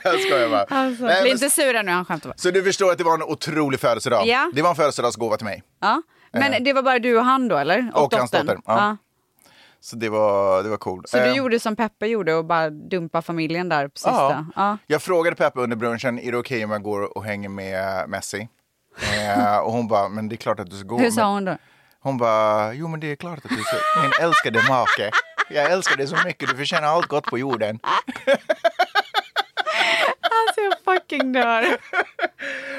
A: Jag skojar bara.
B: Alltså,
A: Nej,
B: bli
A: men-
B: inte sura nu, han skämtar bara.
A: Så du förstår att det var en otrolig födelsedag.
B: Ja.
A: Det var en födelsedagsgåva till mig.
B: Ja. Men det var bara du och han då, eller?
A: Eh. Och hans dotter, ja. Så det var, det var cool.
B: Så du
A: Eh,
B: gjorde som Peppe gjorde och bara dumpa familjen där på sista?
A: Ja.
B: Ja.
A: Jag frågade Peppe under brunchen, är det okej om jag går och hänger med Messi? Eh, och hon bara, men det är klart att du ska gå.
B: Hur
A: Men-
B: sa hon då?
A: Hon bara, jo men det är klart att du är så- min älskade make. Jag älskar dig så mycket, du förtjänar allt gott på jorden.
B: Alltså jag fucking dör.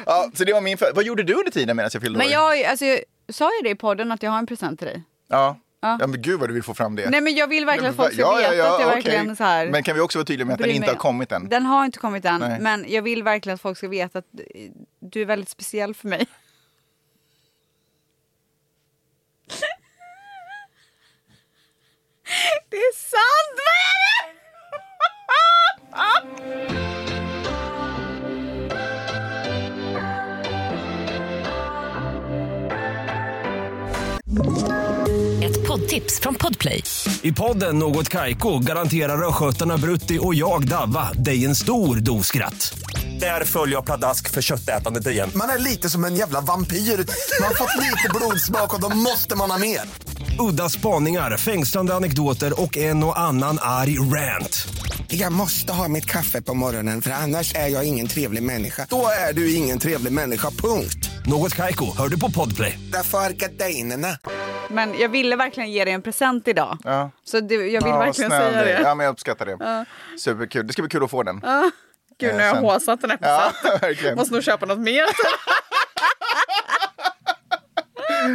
A: Ja, så det var min föd- Vad gjorde du under tiden medan jag fyllde
B: Men
A: år?
B: jag, alltså, jag sa ju det i podden att jag har en present till dig.
A: Ja. ja. men gud vad du vill få fram det.
B: Nej men jag vill verkligen
A: Nej,
B: att folk ska
A: ja, ja,
B: veta
A: ja,
B: att jag
A: okej.
B: verkligen så här...
A: Men kan vi också vara tydliga med att
B: bryr
A: den inte
B: mig.
A: har kommit än?
B: Den har inte kommit än,
A: Nej.
B: men jag vill verkligen att folk ska veta att du är väldigt speciell för mig. Det är sant! Vad är det?
E: Ett poddtips från Podplay.
H: I podden Något Kaiko garanterar östgötarna Brutti och jag, Davva, dig en stor dos skratt. Där följer jag pladask för köttätandet igen.
I: Man är lite som en jävla vampyr. Man har fått lite blodsmak och då måste man ha mer.
H: Udda spaningar, fängslande anekdoter och en och annan arg rant.
I: Jag måste ha mitt kaffe på morgonen för annars är jag ingen trevlig människa. Då är du ingen trevlig människa, punkt.
H: Något Kaiko, hör du på Podplay.
I: Därför är gardinerna.
B: Men jag ville verkligen ge dig en present idag.
A: Ja.
B: Så det, jag vill
A: Ja, vad
B: verkligen
A: snäll
B: säga
A: du är.
B: det.
A: Ja, men jag uppskattar det. Superkul. Det ska bli kul att få den.
B: Gud, nu har jag
A: sen-
B: håsat den här
A: Ja,
B: presenten.
A: verkligen.
B: Måste nog köpa något mer.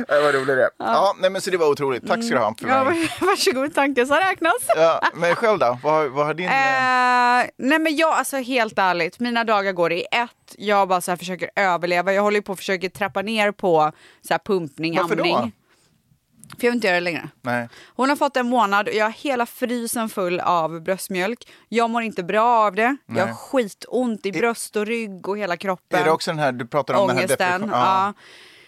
A: Ja, vad rolig det är. Ja, nej, men så det var otroligt. Tack ska du ha för
B: Mm. Ja,
A: mig.
B: varsågod, tanken som räknas.
A: Ja, men själv då? Vad, har- vad har din... eh,
B: Eh, nej men jag, alltså helt ärligt, mina dagar går i ett. Jag bara så här försöker överleva. Jag håller ju på och försöker trappa ner på så här pumpning,
A: Varför då?
B: amning. För jag vill inte göra det längre.
A: Nej.
B: Hon har fått en månad och jag har hela frysen full av bröstmjölk. Jag mår inte bra av det. Jag har skitont i bröst och rygg och hela kroppen.
A: Är det också den här du pratar om? Den här
B: Ångesten.
A: depression-
B: Ja.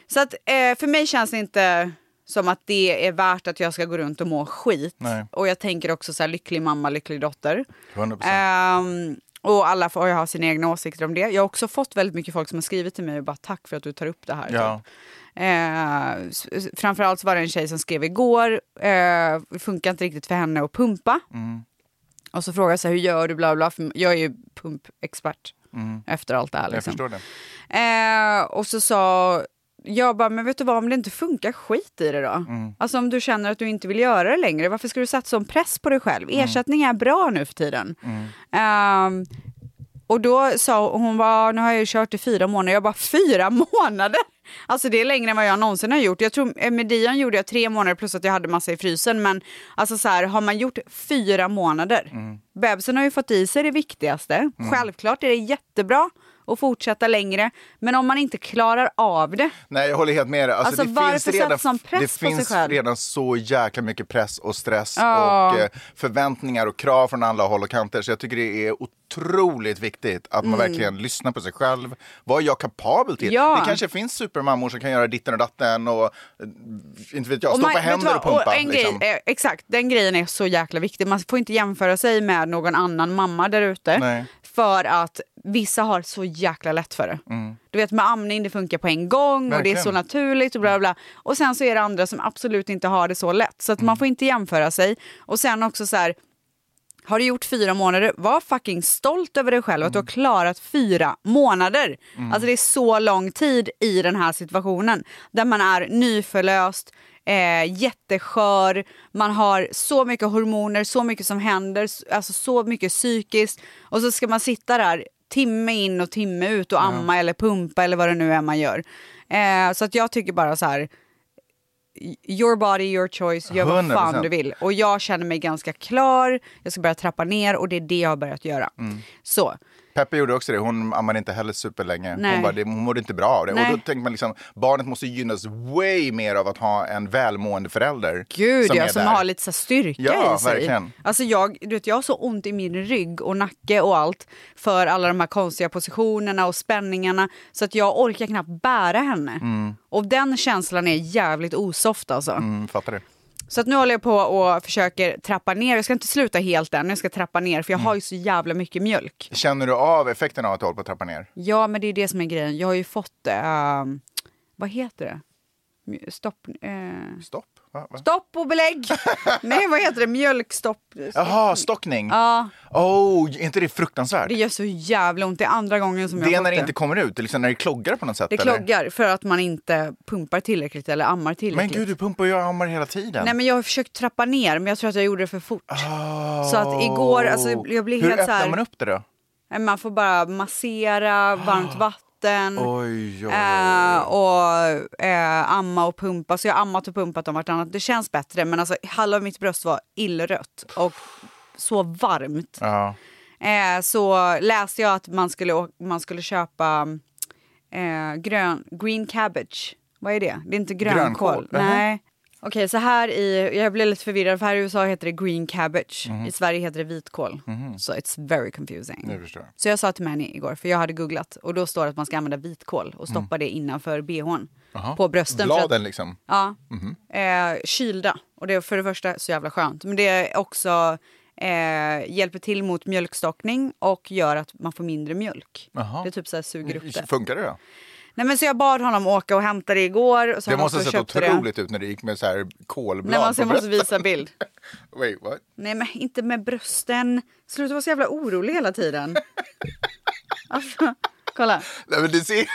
B: Så att, eh, för mig känns det inte som att det är värt att jag ska gå runt och må skit.
A: Nej.
B: Och jag tänker också så här, lycklig mamma, lycklig dotter.
A: 100%.
B: Ehm, och alla får ju ha sina egna åsikter om det. Jag har också fått väldigt mycket folk som har skrivit till mig och bara tack för att du tar upp det här.
A: Ja.
B: Typ. Eh, s- s- framförallt så var det en tjej som skrev igår, eh, det funkar inte riktigt för henne att pumpa.
A: Mm.
B: Och så frågade jag så här, hur gör du bla bla, för jag är ju pumpexpert efter allt det här.
A: Mm. Jag
B: Liksom.
A: förstår det.
B: Eh, och så sa jag bara, men vet du vad, om det inte funkar, skit i det då. Alltså om du känner att du inte vill göra det längre, varför ska du satsa sån press på dig själv? Ersättning är bra nu för tiden. Ehm, och då sa hon, hon bara, nu har jag ju kört i fyra månader. Jag bara, fyra månader? Alltså det är längre än vad jag någonsin har gjort. Jag tror eh, med Dion gjorde jag tre månader plus att jag hade massa i frysen. Men alltså så här, har man gjort fyra månader? Bebisen har ju fått i sig det viktigaste. Självklart är det jättebra och fortsätta längre. Men om man inte klarar av det.
A: Nej, jag håller helt med dig.
B: Alltså, varför sätta sån press
A: det
B: på sig
A: finns
B: själv?
A: redan så jäkla mycket press och stress
B: Ja.
A: och eh, förväntningar och krav från alla håll och kanter. Så jag tycker det är otroligt viktigt att man verkligen lyssnar på sig själv. Vad är jag kapabel till?
B: Mm. Ja.
A: Det kanske finns supermammor som kan göra ditten och datten och eh, inte vet jag,
B: Och
A: stå
B: man-
A: på
B: vet du
A: händer
B: vad?
A: och pumpa.
B: en grej,
A: liksom.
B: eh, exakt, den grejen är så jäkla viktig. Man får inte jämföra sig med någon annan mamma där ute.
A: Nej.
B: För att vissa har så jäkla lätt för det. Du vet med amning, det funkar på en gång och det är
A: Mm. Verkligen.
B: så naturligt och bla bla. bla. Och sen så är det andra som absolut inte har det så lätt. Så att
A: Mm.
B: man får inte jämföra sig. Och sen också så här, har du gjort fyra månader, var fucking stolt över dig själv att du har klarat fyra månader. Alltså det är så lång tid i den här situationen där man är nyförlöst, eh, jätteskör, man har så mycket hormoner, så mycket som händer, s- alltså så mycket psykiskt och så ska man sitta där timme in och timme ut och amma eller pumpa eller vad det nu är man gör. Eh, så att jag tycker bara så här, your body, your choice, gör vad fan
A: 100%.
B: du vill. Och jag känner mig ganska klar, jag ska börja trappa ner och det är det jag har börjat göra.
A: Mm.
B: Så,
A: Peppe gjorde också det, hon ammade inte heller superlänge.
B: Nej.
A: Hon, bara, det, hon mådde inte bra av det.
B: Nej.
A: Och då tänker man liksom, barnet måste gynnas way mer av att ha en välmående förälder.
B: gud som,
A: är
B: jag, som
A: där.
B: har lite så här styrka
A: Ja,
B: i sig.
A: verkligen.
B: Alltså jag, du vet, jag har så ont i min rygg och nacke och allt för alla de här konstiga positionerna och spänningarna så att jag orkar knappt bära henne. Och den känslan är jävligt osoft alltså.
A: Mm, fattar du?
B: Så att nu håller jag på och försöker trappa ner. Jag ska inte sluta helt än, jag ska trappa ner för jag
A: Mm.
B: har ju så jävla mycket mjölk.
A: Känner du av effekten av att du håller på att trappa ner?
B: Ja, men det är det som är grejen. Jag har ju fått... eh, vad heter det? Mj- Stopp... eh,
A: Stopp? Va? Va?
B: stopp och belägg! Nej, vad heter det? Mjölkstopp.
A: Jaha, stockning?
B: Ja,
A: Oh, är inte det fruktansvärt?
B: det
A: Det,
B: gör så jävla ont. Det är andra gången som jag
A: är
B: har
A: när
B: fått
A: det inte kommer ut, liksom när det kloggar på något sätt?
B: Det
A: eller?
B: kloggar för att man inte pumpar tillräckligt eller ammar
A: Men
B: tillräckligt.
A: gud, du pumpar ju och ammar hela tiden.
B: Nej, men jag har försökt trappa ner, men jag tror att jag gjorde det för fort.
A: Oh.
B: Så att igår, alltså, jag blir
A: Hur
B: helt så
A: öppnar
B: här-
A: man upp det då?
B: Eh, Man får bara massera, varmt vatten.
A: Oj, oj, oj.
B: Eh, och eh, amma och pumpa. Så jag har ammat och pumpat om vartannat. Det känns bättre men alltså halva mitt bröst var illrött och så varmt.
A: Ja.
B: Eh, så läste jag att man skulle, å- man skulle köpa eh, grön, green cabbage. Vad är det? Det är inte grönkål.
A: Grönkål, jaha.
B: Nej. Okej, så här i... Jag blev lite förvirrad för här i USA heter det green cabbage. I Sverige heter det vitkål. Så it's very confusing.
A: Nu förstår Mhm. jag.
B: Så jag sa till Manny igår, för jag hade googlat och då står det att man ska använda vitkål och stoppa
A: Mm.
B: det innanför bhn. På brösten. för att-
A: Bladen liksom.
B: Ja. Eh, kylda. Och det är för det första så jävla skönt. Men det är också eh, hjälper till mot mjölkstockning och gör att man får mindre mjölk.
A: Jaha.
B: Det typ så här suger upp det.
A: Funkar det då?
B: Nej, men så jag bad honom åka och hämta det igår. Och så
A: Det
B: han
A: måste ha
B: också
A: sett
B: köpte det.
A: otroligt ut när det gick med så här kolblad
B: Nej, men alltså,
A: på
B: jag måste
A: bröstet.
B: visa bild.
A: Wait, what?
B: Nej, men inte med brösten. Sluta vara så jävla orolig hela tiden. Alltså, kolla.
A: Nej, men du ser... Nej!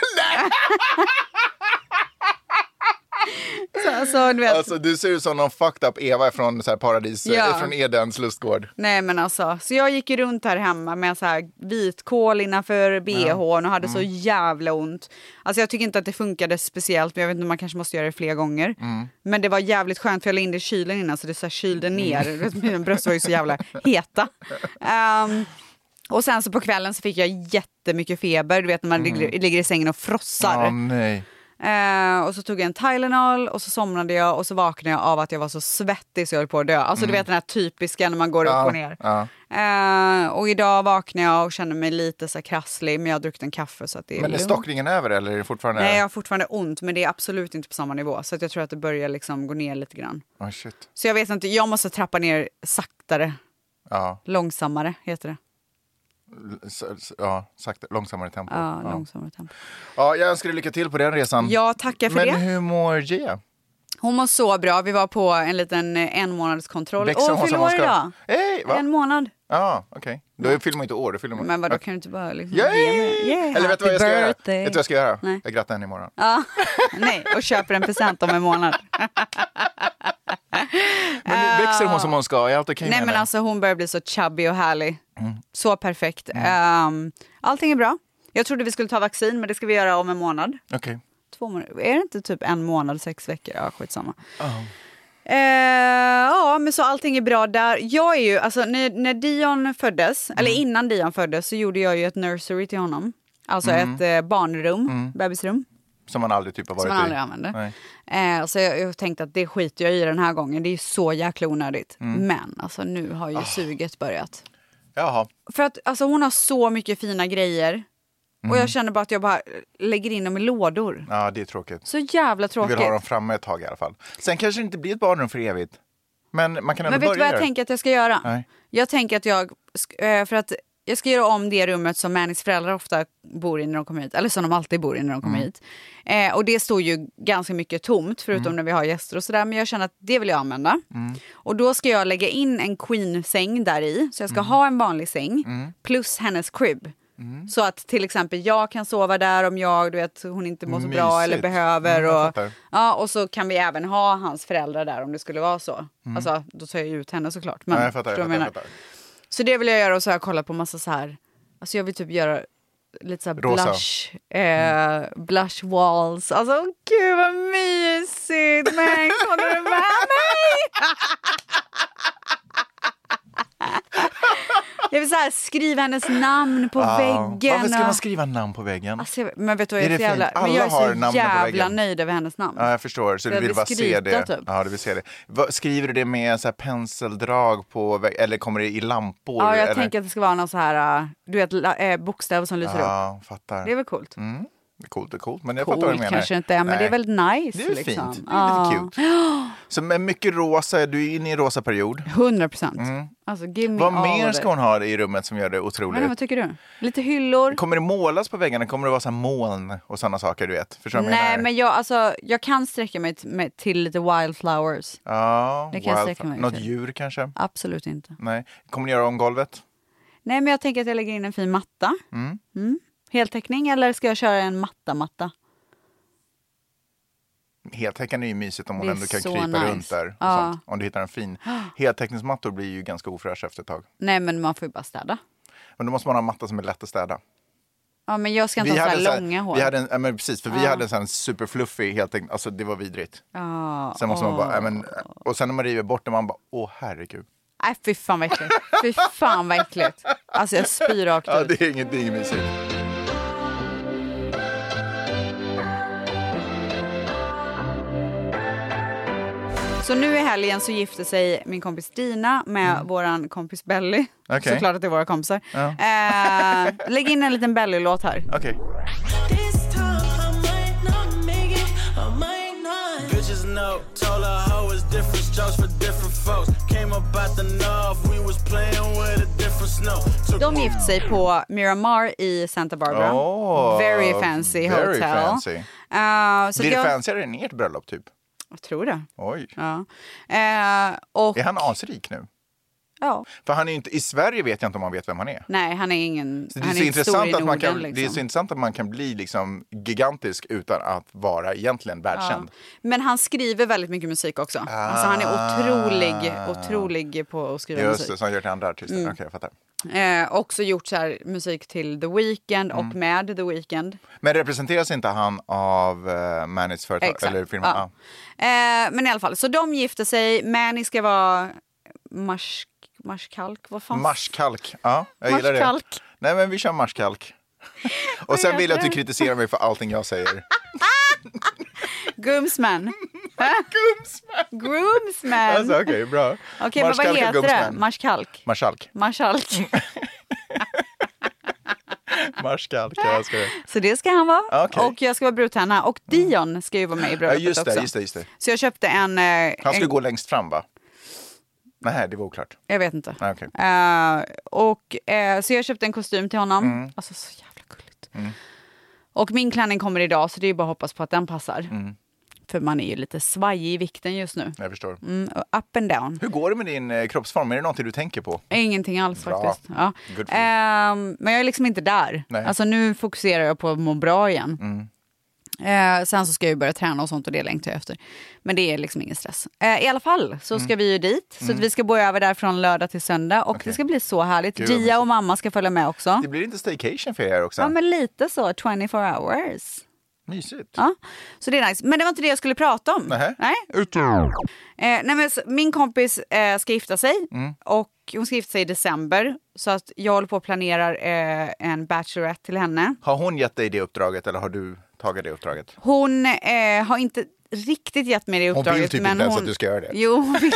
B: Så, alltså, du vet.
A: Alltså, du ser ut som någon fucked up Eva från så här, paradis,
B: Ja.
A: från Edens lustgård.
B: Nej men alltså, så jag gick ju runt här hemma med så här vitkål innanför bhn och hade
A: Mm.
B: så jävla ont. Alltså jag tycker inte att det funkade speciellt men jag vet inte, man kanske måste göra det fler gånger.
A: Mm.
B: Men det var jävligt skönt för jag la in det i kylen innan så det så här kylde ner. Du vet, Mina bröst var ju så jävla heta. Ehm, och sen så på kvällen så fick jag jättemycket feber, du vet när man
A: Mm.
B: ligger, ligger i sängen och frossar.
A: Åh, nej.
B: Eh, och så tog jag en Tylenol och så somnade jag och så vaknade jag av att jag var så svettig så jag höll på att dö. Alltså du vet den här typiska när man går upp och ner.
A: Mm. ja.
B: Eh, och idag vaknade jag och kände mig lite så här krasslig men jag har druckit en kaffe så att det är
A: Men är
B: lugnt.
A: stockningen över eller är det fortfarande...
B: Nej jag har fortfarande ont men det är absolut inte på samma nivå så att jag tror att det börjar liksom gå ner lite grann.
A: Oh, shit.
B: Så jag vet inte, jag måste trappa ner saktare,
A: Ja,
B: långsammare heter det.
A: l- s- s- ja sakta, långsammare tempo.
B: Ja,
A: ja.
B: långsammare tempo.
A: Ja, jag önskar dig lycka till på den resan.
B: Jag tackar för
A: Men
B: det.
A: hur mår Gia?
B: Hon mår så bra, vi var på en liten eh, en månads kontroll.
A: Växer
B: Åh,
A: hon
B: fyller
A: som
B: år
A: hon ska?
B: idag!
A: Hej, va?
B: En månad.
A: Ja, okej. Då fyller man inte år, då fyller man...
B: Men vadå, kan du inte bara liksom
A: Yay!
B: ge mig? Yeah,
A: Eller vet du vad jag ska
B: happy
A: göra? Vet
B: birthday.
A: du vad jag ska göra?
B: Nej.
A: Jag grattar henne imorgon.
B: Ja, nej, och köper en present om en månad.
A: Men nu växer hon som hon ska? Är allt okej med
B: Nej men
A: henne?
B: alltså hon börjar bli så chubby och härlig. Så perfekt. Ehm, allting är bra. Jag trodde vi skulle ta vaccin men det ska vi göra om en månad.
A: Okej.
B: Två månader. Är det inte typ en månad, sex veckor? Ja, skitsamma. Eh, ja, men så allting är bra där. Jag är ju, alltså när, när Dion föddes, eller innan Dion föddes så gjorde jag ju ett nursery till honom. Alltså ett eh, barnrum, bebisrum,
A: Som man aldrig typ har varit
B: som man aldrig använder.
A: Nej.
B: Eh, så jag, jag tänkte att det skiter jag i den här gången, det är ju så jäkla onödigt.
A: Mm.
B: Men alltså nu har
A: Ah.
B: ju suget börjat.
A: Jaha.
B: För att alltså, hon har så mycket fina grejer. Och
A: Mm.
B: jag känner bara att jag bara lägger in dem i lådor.
A: Ja, det är tråkigt.
B: Så jävla
A: Du
B: tråkigt.
A: vill ha dem framme ett tag i alla fall. Sen kanske det inte blir ett barnrum för evigt. Men man kan ändå
B: Men vet du
A: börja
B: vad jag
A: där.
B: tänker att jag ska göra?
A: Nej.
B: Jag tänker att jag, sk- eh, för att jag ska göra om det rummet som Mannys föräldrar ofta bor i när de kommer hit, eller som de alltid bor i när de kommer
A: Mm.
B: hit. Eh, och det står ju ganska mycket tomt, förutom
A: Mm.
B: när vi har gäster och sådär, men jag känner att det vill jag använda. Och då ska jag lägga in en queen-säng där i, så jag
A: Mm.
B: ska ha en vanlig säng, plus hennes crib. Så att till exempel jag kan sova där om jag, du vet, hon inte mår så bra
A: Mysigt.
B: eller behöver.
A: Mm, jag
B: Och,
A: fattar.
B: ja, och så kan vi även ha hans föräldrar där om det skulle vara så. Alltså, då tar jag ut henne såklart. Men,
A: Mm. Ja, jag fattar, jag
B: förstår
A: fattar,
B: vad jag
A: jag
B: menar?
A: fattar.
B: Så det vill jag göra och så har jag kollat på massa så här, alltså jag vill typ göra lite så här
A: Rosa. Mm.
B: blush, eh, blush walls. Alltså åh, gud vad mysigt! Max, håller du med mig? Jag vill så här, skriva hennes namn på
A: Ja.
B: väggen.
A: Varför ska
B: och-
A: man skriva namn på väggen?
B: Alltså, jag- men vet du vad,
A: Är
B: jag
A: det
B: är, så jävla,
A: fint?
B: men
A: Alla
B: jag är
A: har
B: så
A: namnen på
B: jävla
A: väggen.
B: nöjd över hennes namn.
A: Ja, jag förstår. Så
B: Jag
A: du vill
B: vill
A: bara se
B: skryta,
A: det.
B: typ.
A: Ja, du vill se det. Vad- Skriver du det med så här penseldrag på vä- eller kommer det i lampor?
B: ja, jag
A: eller?
B: tänker att det ska vara någon så här, äh, du vet, la- äh, bokstäver som lyser upp.
A: Ja, Mm. fattar.
B: Det är väl coolt?
A: Coolt och coolt, men jag fattar vad du
B: Coolt
A: menar.
B: kanske inte är, men
A: Nej.
B: det är väl nice.
A: Det är väl
B: liksom.
A: fint. Det är
B: Ja.
A: lite cute. Så med mycket rosa, du är inne i en rosa period.
B: 100 procent. Alltså, give me
A: Mm. Vad
B: all
A: mer
B: of
A: ska
B: it.
A: hon ha i rummet som gör det
B: Jag vet inte,
A: otroligt?
B: Vad tycker du? Lite hyllor?
A: Kommer det målas på väggarna? Kommer det vara så här moln och sådana saker? du vet? Förstår du vad jag
B: Nej,
A: menar?
B: men jag, alltså, jag kan sträcka mig t- med, till lite wildflowers.
A: Ja,
B: Det kan jag
A: wild-
B: sträcka mig
A: Något
B: till.
A: djur kanske?
B: Absolut inte.
A: Nej. Kommer ni göra om golvet?
B: Nej, men jag tänker att jag lägger in en fin matta. Mm. Heltäckning, eller ska jag köra en matta-matta?
A: Heltäckande är ju mysigt om hon
B: Det är
A: ändå kan
B: så
A: krypa
B: nice.
A: runt där. Och
B: Ja.
A: sånt. Om du hittar en fin. Heltäckningsmattor blir ju ganska ofräscha efter ett tag.
B: Nej, men man får ju bara städa.
A: Men då måste man ha en matta som är lätt att städa.
B: Ja, men jag ska inte ha så
A: en
B: här
A: sån
B: långa hår.
A: Vi hade en, ja, men precis, för vi hade en sån här superfluffig heltäckning. Alltså det var vidrigt.
B: Ja,
A: Sen måste man bara,
B: åh.
A: ja, men, och sen när man river bort det, man bara, åh herregud.
B: Nej, fy fan vad äckligt. Fy fan vad äckligt. Alltså jag spyr rakt
A: Ja,
B: ut.
A: det är inget, det är inget mysigt.
B: Så nu i helgen så gifte sig min kompis Dina med våran kompis Belly.
A: Mm. Okej.
B: Såklart att det är våra kompisar.
A: Ja.
B: Eh, lägg in en liten Belly-låt här.
A: Okej.
C: This time I might not make it, I might not.
J: Bitches know, told a hoe it's different strokes for different folks. Came up out the north, we was playing with a different snow. Took
B: De gifte sig på Miramar i Santa Barbara.
A: Åh,
B: very fancy
A: very
B: hotel.
A: fancy.
B: Eh, så
A: Blir det
B: jag,
A: fancyare än ert bröllop typ?
B: Jag tror det.
A: Oj.
B: Ja. Eh, och,
A: Är han asrik nu?
B: ja.
A: För han är ju inte, i Sverige vet jag inte om man vet vem han är.
B: Nej, han är ingen...
A: Så det, är
B: han är
A: så
B: inte stor
A: intressant
B: i
A: att man
B: Norden,
A: kan,
B: liksom.
A: det är så intressant att man kan bli liksom gigantisk utan att vara egentligen världskänd.
B: Men han skriver väldigt mycket musik också. Alltså han är otrolig, otrolig på att skriva
A: Ah. Just
B: musik. Mm.
A: det, som han gör till andra artister. Okej, jag fattar.
B: Eh, också gjort så här musik till The Weeknd
A: Mm.
B: och med The Weeknd.
A: Men representeras inte han av uh, Manage företag
B: Exakt.
A: eller firma?
B: Ja. Eh, men i alla fall, så de gifter sig. Manny ska vara marsk, marskalk, vad
A: Ja.
B: fan?
A: Marskalk. Ja, jag gillar det.
B: Marskalk.
A: Nej, men vi kör marskalk. Och sen vill jag att du kritiserar mig för allting jag säger.
B: Groomsman. Groomsman. Groomsman.
A: Alltså, Okej, bra.
B: Okej, men vad
A: Marskalk och
B: heter det?
A: Gubbsmän.
B: Marskalk.
A: Marskalk.
B: Marskalk.
A: Marskalk, ja, jag ska det.
B: Så det ska han vara.
A: Okej. Mm.
B: Och jag ska vara brudtärna. Och Dion ska ju vara med i
A: Ja,
B: bröllopet
A: just det,
B: också.
A: just det, just det.
B: Så jag köpte en... eh,
A: Han skulle
B: en
A: gå längst fram, va? Nej, det var oklart.
B: jag vet inte.
A: Nej, okej.
B: Eh, och, eh, så jag köpte en kostym till honom. Alltså så jävla gulligt. Och min klänning kommer idag så det är ju bara att hoppas på att den passar. För man är ju lite svajig i vikten just nu.
A: Jag förstår.
B: Mm, och up and down.
A: Hur går det med din eh, kroppsform? Är det någonting du tänker på?
B: Ingenting alls
A: Bra.
B: faktiskt. Ja.
A: Good for you.
B: Ehm, men jag är liksom inte där.
A: Nej. Mm.
B: Alltså nu fokuserar jag på att må bra igen. Eh, sen så ska jag ju börja träna och sånt och det längtar jag efter. Men det är liksom ingen stress. Eh, I alla fall så ska vi ju dit. Så att vi ska bo över där från lördag till söndag och
A: Mm. Okej.
B: det ska bli så härligt.
A: Gud, vad
B: Dia
A: mysigt.
B: och mamma ska följa med också.
A: Det blir inte staycation för er också?
B: Ja men lite så, 24 hours.
A: Mysigt.
B: Ja, så det är nice. Men det var inte det jag skulle prata om.
A: Nähä.
B: Nej. Eh, nej men, så- min kompis eh, ska gifta sig
A: Mm.
B: och hon ska gifta sig i december. Så att jag håller på och planerar eh, en bachelorette till henne.
A: Har hon gett dig det uppdraget eller har du tagit det uppdraget?
B: Hon eh, har inte riktigt gett mig det
A: Hon vill
B: uppdraget.
A: typ
B: men
A: inte ens
B: hon...
A: att du ska göra det.
B: Jo, hon vill,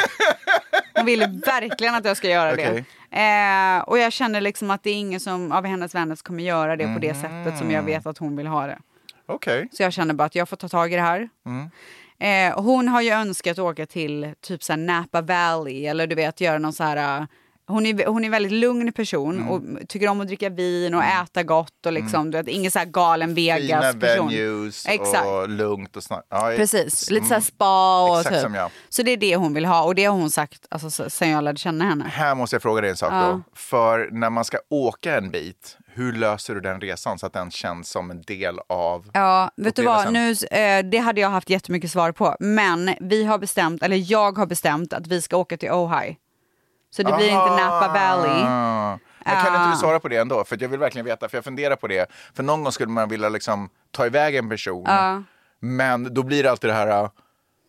B: hon vill verkligen att jag ska göra
A: Okej.
B: det. Eh, och jag känner liksom att det är ingen som, av hennes vänner som kommer göra det på det
A: Mm.
B: sättet som jag vet att hon vill ha det.
A: Okej.
B: Så jag känner bara att jag får ta tag i det här.
A: Mm.
B: Eh, hon har ju önskat åka till typ så här Napa Valley eller du vet göra någon så här... eh, Hon är, hon är en väldigt lugn person
A: Mm.
B: och tycker om att dricka vin och äta gott och liksom, du vet, ingen så här galen
A: Fina
B: Vegas-person.
A: venues
B: Exakt.
A: och lugnt och snabbt. Ja, Mm.
B: Precis, lite så här spa och
A: Exakt
B: typ.
A: som jag.
B: Så det är det hon vill ha och det har hon sagt alltså, s- sen jag lärde känna henne.
A: Här måste jag fråga dig en sak
B: Ja.
A: då. För när man ska åka en bit, hur löser du den resan så att den känns som en del av...
B: Ja, vet du vad? Nu,
A: upplevelsen.
B: eh, det hade jag haft jättemycket svar på. Men vi har bestämt, eller jag har bestämt att vi ska åka till Ojai. Så det blir inte Napa Valley.
A: Ah. Men kan inte du svara på det ändå? För att jag vill verkligen veta, för jag funderar på det. För någon gång skulle man vilja liksom ta iväg en person. Men då blir det alltid det här, ah,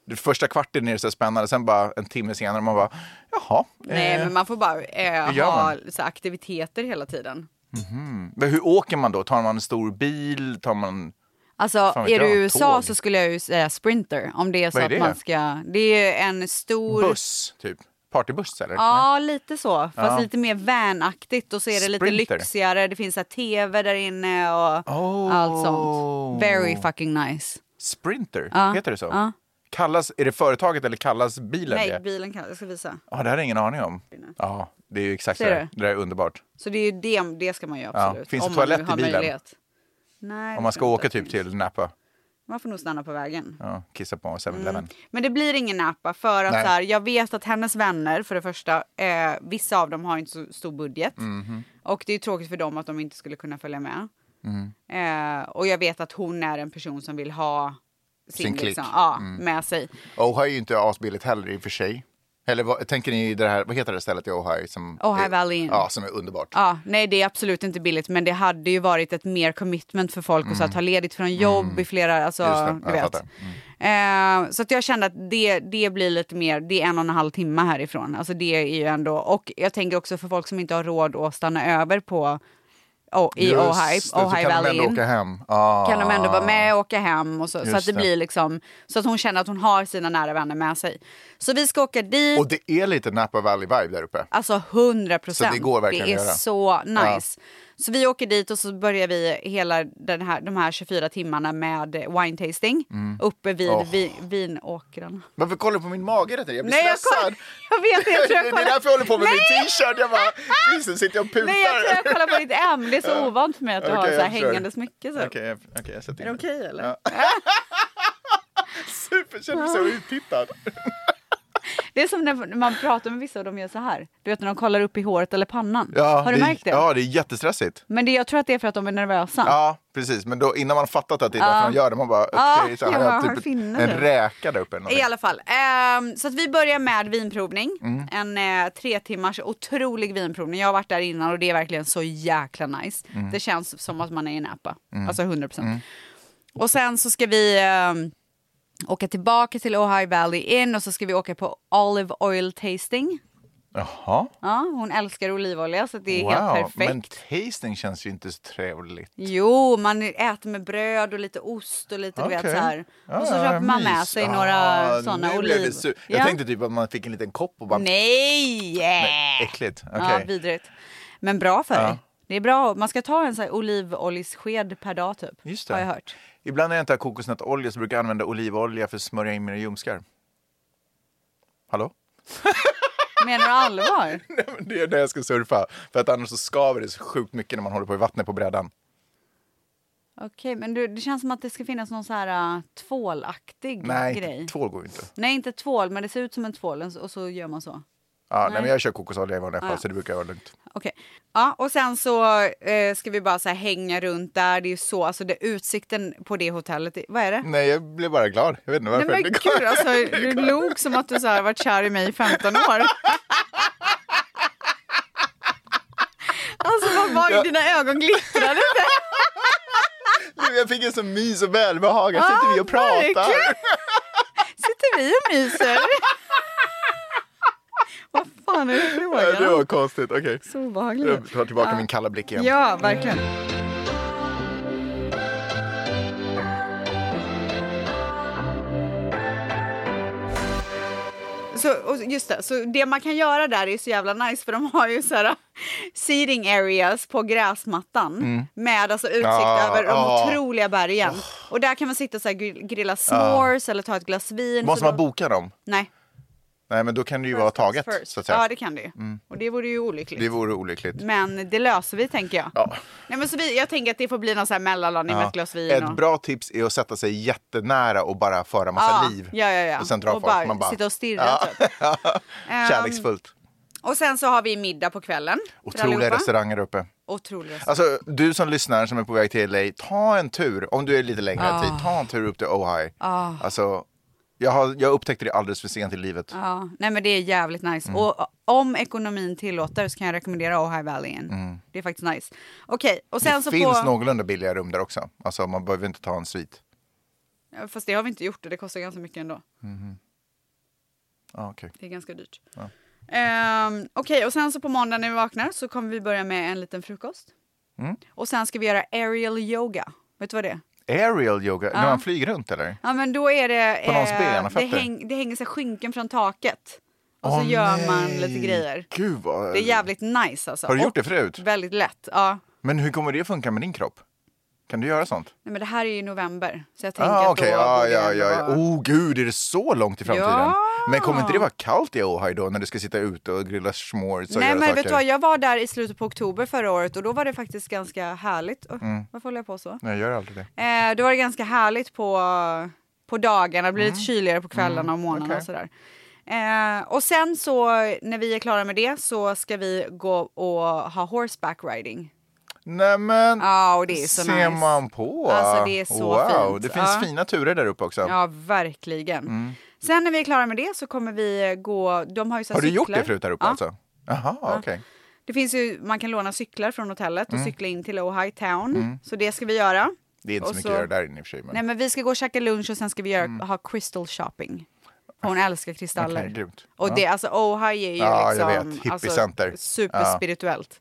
A: det första kvarten är det så här spännande, sen bara en timme senare man bara, jaha.
B: Nej,
A: eh,
B: men man får bara eh,
A: gör
B: ha
A: man?
B: så här, aktiviteter hela tiden.
A: men hur åker man då? Tar man en stor bil? Tar man...
B: Alltså,
A: Fan vet
B: är du
A: jag,
B: i USA
A: tåg.
B: så skulle jag ju säga sprinter. Om det är så
A: Vad är
B: att
A: det?
B: man ska... Det är en stor...
A: Buss, typ? Partybuss eller?
B: Ja, lite så. Fast
A: Ja.
B: lite mer vanaktigt och så är det lite
A: Sprinter.
B: lyxigare. Det finns så här tv där inne och
A: Oh.
B: allt sånt. Very fucking nice.
A: Sprinter,
B: Ja,
A: heter det så?
B: ja.
A: Kallas, är det företaget eller kallas bilen
B: Nej,
A: det?
B: bilen kan jag ska visa.
A: Ja, det här har jag ingen aning om. Ja, det är ju exakt det.
B: Ser
A: där.
B: du?
A: Det där är underbart.
B: Så det är ju det, det ska man ju absolut.
A: Finns det
B: om
A: toalett
B: man
A: i
B: har
A: bilen?
B: möjlighet. Nej,
A: Om
B: det
A: man
B: tror
A: ska
B: jag
A: åka
B: inte.
A: typ till Napa.
B: Man får nog stanna på vägen.
A: Ja, kissa på 7-Eleven.
B: Men det blir ingen Napa för att så
A: Nej.
B: här, jag vet att hennes vänner, för det första, eh, vissa av dem har inte så stor budget.
A: Mhm.
B: Och det är tråkigt för dem att de inte skulle kunna följa med.
A: Mhm.
B: Eh, och jag vet att hon är en person som vill ha sin,
A: Sin klick. Mm.
B: liksom, ja, med sig.
A: Ohio är ju inte asbilligt heller i och för sig. Eller vad, tänker ni det här, vad heter det stället i Ohio? Som
B: Ohio
A: är,
B: Valley Inn.
A: Ja, som är underbart.
B: Ja, nej, det är absolut inte billigt, men det hade ju varit ett mer commitment för folk och så att ta ledigt från jobb i flera... Alltså,
A: Mm. Just det,
B: du
A: jag
B: vet.
A: fattar.
B: Eh, så att jag kände att det, det blir lite mer, det är en och en halv timme härifrån. Alltså det är ju ändå, och jag tänker också för folk som inte har råd att stanna över på oh, i
A: Just
B: Ohio,
A: det, så
B: Ohio
A: kan de
B: Valley
A: ändå
B: Inn,
A: åka hem. Ah.
B: kan de ändå vara med och åka hem och så, så
A: Just
B: att det
A: det.
B: blir liksom, så att hon känner att hon har sina nära vänner med sig. Så vi ska åka dit.
A: Ah. Och det är lite Napa Valley-vibe där uppe.
B: Alltså 100 procent.
A: Så det går verkligen
B: Det är
A: att göra.
B: så nice. Så vi åker dit och så börjar vi hela den här, de här 24 timmarna med wine tasting uppe vid
A: Oh.
B: vi, vinåkrarna.
A: Varför kollar du på min mage? Rättare? Jag blir
B: Nej, jag,
A: stressad.
B: koll, jag vet inte, jag tror jag
A: det är
B: kollar.
A: därför jag håller på med
B: Nej!
A: min t-shirt. Jag bara, Jesus, sitter jag och putar?
B: Nej, jag tror jag kollar på ditt M. Det är så ovant för mig att du har
A: Okej,
B: så här
A: jag förstår.
B: hängande smycke. Så.
A: Okej, jag, okej, jag sätter
B: Är det
A: in
B: okej eller?
A: Super, känner mig så uttittad.
B: Det är som när man pratar med vissa och de gör så här. Du vet när de kollar upp i håret eller pannan. har du
A: det, är-
B: märkt det?
A: Ja, det är jättestressigt.
B: Men det, jag tror att det är för att de är nervösa.
A: Ja, precis. Men då, innan man fattat att det är därför man gör det, man bara,
B: Ja,
A: okej, så här,
B: jag
A: jag
B: har
A: har typ en
B: finnar.
A: räka där uppe. Eller
B: I
A: någonting.
B: alla fall. Ehm, så att vi börjar med vinprovning.
A: Mm.
B: En eh, tre timmars otrolig vinprovning. Jag har varit där innan och det är verkligen så jäkla nice.
A: Mm.
B: Det känns som att man är i Napa. Alltså 100 procent. Och sen så ska vi ehm, åka tillbaka till Ohio Valley Inn och så ska vi åka på Olive Oil Tasting.
A: Jaha,
B: Ja, hon älskar olivolja så det är helt
A: wow.
B: perfekt.
A: Men tasting känns ju inte så trevligt.
B: Jo, man äter med bröd och lite ost och lite du
A: Okej.
B: vet så här.
A: Ja,
B: och så
A: ja,
B: köper man med
A: mys.
B: sig några
A: Ah,
B: sådana
A: nu blev det
B: oliv.
A: su- Jag
B: Ja.
A: tänkte typ att man fick en liten kopp och bara,
B: Nej!
A: äckligt.
B: Ja,
A: Okej.
B: vidrigt. Men bra för dig. Det är bra. Man ska ta en sån här olivoljssked per dag typ.
A: Just det.
B: Har jag hört.
A: Ibland när jag inte har kokosnötolja så brukar jag använda olivolja för att smörja in mina ljumskar. Hallå?
B: Menar du allvar?
A: Nej, men det är när jag ska surfa. För att annars så skaver det så sjukt mycket när man håller på i vattnet på brädan.
B: Okej, men du, det känns som att det ska finnas någon så här äh, tvålaktig
A: Nej,
B: grej.
A: tvål går ju inte.
B: Nej, inte tvål, men det ser ut som en tvål och så- och så gör man så.
A: Ja, nej. men jag kör kokosolja i vanliga fall så det brukar jag vara lugnt.
B: Okej. Ja, och sen så eh, ska vi bara så här hänga runt där. Det är ju så, alltså det, utsikten på det hotellet, det- vad är det?
A: Nej, jag blev bara glad. Jag vet inte
B: Nej
A: varför.
B: men
A: Det går-
B: gud alltså, du log som att du så här varit kär i mig i 15 år. Alltså vad var det dina ögon glittrade?
A: Nu, jag fick en sån mys och välbehag. Här sitter vi och pratar.
B: verkligen. Sitter vi och myser? Vad fan är det
A: Ja, det
B: frågan
A: var
B: om?
A: konstigt. Okej.
B: Så obehagligt.
A: Jag tar tillbaka
B: Ja.
A: min kalla blick igen.
B: Ja, verkligen. Så, och just det, så det man kan göra där är så jävla nice för de har ju så här äh, seating areas på gräsmattan med alltså utsikt
A: Mm. Ja,
B: över de
A: ja.
B: otroliga bergen. Och där kan man sitta och så här gr- grilla s'mores eller ta ett glas vin.
A: Måste
B: Så
A: man
B: då-
A: boka dem?
B: Nej.
A: Nej, men då kan det ju vara taget.
B: First.
A: Så att
B: Ja,
A: säga. Mm.
B: det Mm. kan du ju. Och det vore ju olyckligt.
A: Det vore olyckligt.
B: Men det löser vi tänker jag.
A: Ja.
B: Nej, men så vi, jag tänker att det får bli någon så här mellanlandning med
A: Ja.
B: ett glas vin.
A: Ett
B: och...
A: bra tips är att sätta sig jättenära och bara föra massa
B: Ja,
A: liv.
B: ja, ja, ja.
A: Och sen dra
B: Och
A: folk.
B: bara
A: Man
B: sitta och stirra, typ.
A: Ja. Kärleksfullt.
B: Och sen så har vi middag på kvällen. för
A: Otroliga
B: allihopa.
A: restauranger där uppe.
B: Otroliga restauranger.
A: Alltså, du som lyssnar som är på väg till LA, ta en tur, om du är lite längre tid, ta en tur upp till Ojai. Alltså, jag, har, jag upptäckte det alldeles för sent i livet.
B: Ja, nej men det är jävligt nice.
A: Mm.
B: Och om ekonomin tillåter så kan jag rekommendera Ohio Valley Inn. Det är faktiskt nice. Okej, och sen
A: Mm. det
B: så
A: finns
B: på...
A: någorlunda billiga rum där också. Alltså, man behöver inte ta en svit.
B: Ja, Fast det har vi inte gjort och det kostar ganska mycket ändå.
A: Ah, okay.
B: Det är ganska dyrt. Ehm, Okej, och sen så på måndag när vi vaknar så kommer vi börja med en liten frukost.
A: Mm.
B: Och sen ska vi göra aerial yoga. Vet du vad det är?
A: Aerial yoga, när man flyger runt eller?
B: Ja, men då är det... eh,
A: På någons ben och
B: det,
A: fötter.
B: häng, det hänger sig skynken från taket. Och så
A: Åh,
B: gör
A: nej.
B: man lite grejer.
A: Gud vad...
B: Det är jävligt nice alltså.
A: Har du
B: Och
A: gjort det förut?
B: Väldigt lätt, ja.
A: Men hur kommer det funka med din kropp? Kan du göra sånt?
B: Nej, men det här är ju i november, så jag tänker
A: Ah,
B: att då...
A: okej, ja,
B: borde
A: ja,
B: det
A: ja.
B: vara-
A: Oh gud, är det så långt i framtiden?
B: Ja.
A: Men kommer inte det vara kallt i Ohio då när du ska sitta ute och grilla smores och
B: Nej,
A: göra
B: men
A: saker?
B: vet du vad, jag var där i slutet på oktober förra året och då var det faktiskt ganska härligt. Oh,
A: Mm.
B: Varför håller jag på så?
A: Nej, jag gör aldrig det.
B: Eh, då var det ganska härligt på, på dagarna, det blir
A: Mm.
B: lite kyligare på kvällarna och morgnarna och sådär. Eh, och sen så när vi är klara med det så ska vi gå och ha horseback riding.
A: Nej men,
B: Ja, och det är så
A: ser
B: nice.
A: man på!
B: Alltså, det är så
A: wow.
B: fint.
A: Det finns
B: Ja.
A: fina turer där uppe också.
B: Ja, verkligen.
A: Mm.
B: Sen när vi är klara med det så kommer vi gå, de har ju så här
A: Har du gjort
B: cyklar.
A: det förut där uppe
B: Ja.
A: alltså? Jaha, okej.
B: Det finns ju, man kan låna cyklar från hotellet och cykla in till Ohio Town. Så det ska vi göra.
A: Mm. Det är inte
B: Och
A: så mycket
B: så-
A: att göra där inne i och för sig. Men...
B: Nej men vi ska gå och käka lunch och sen ska vi göra, ha crystal shopping. Hon älskar kristaller.
A: Mm. Okej, grymt.
B: och
A: Ja.
B: det, alltså Ohio är ju
A: Ja, jag
B: liksom
A: vet. Hippiecenter.
B: Alltså, superspirituellt.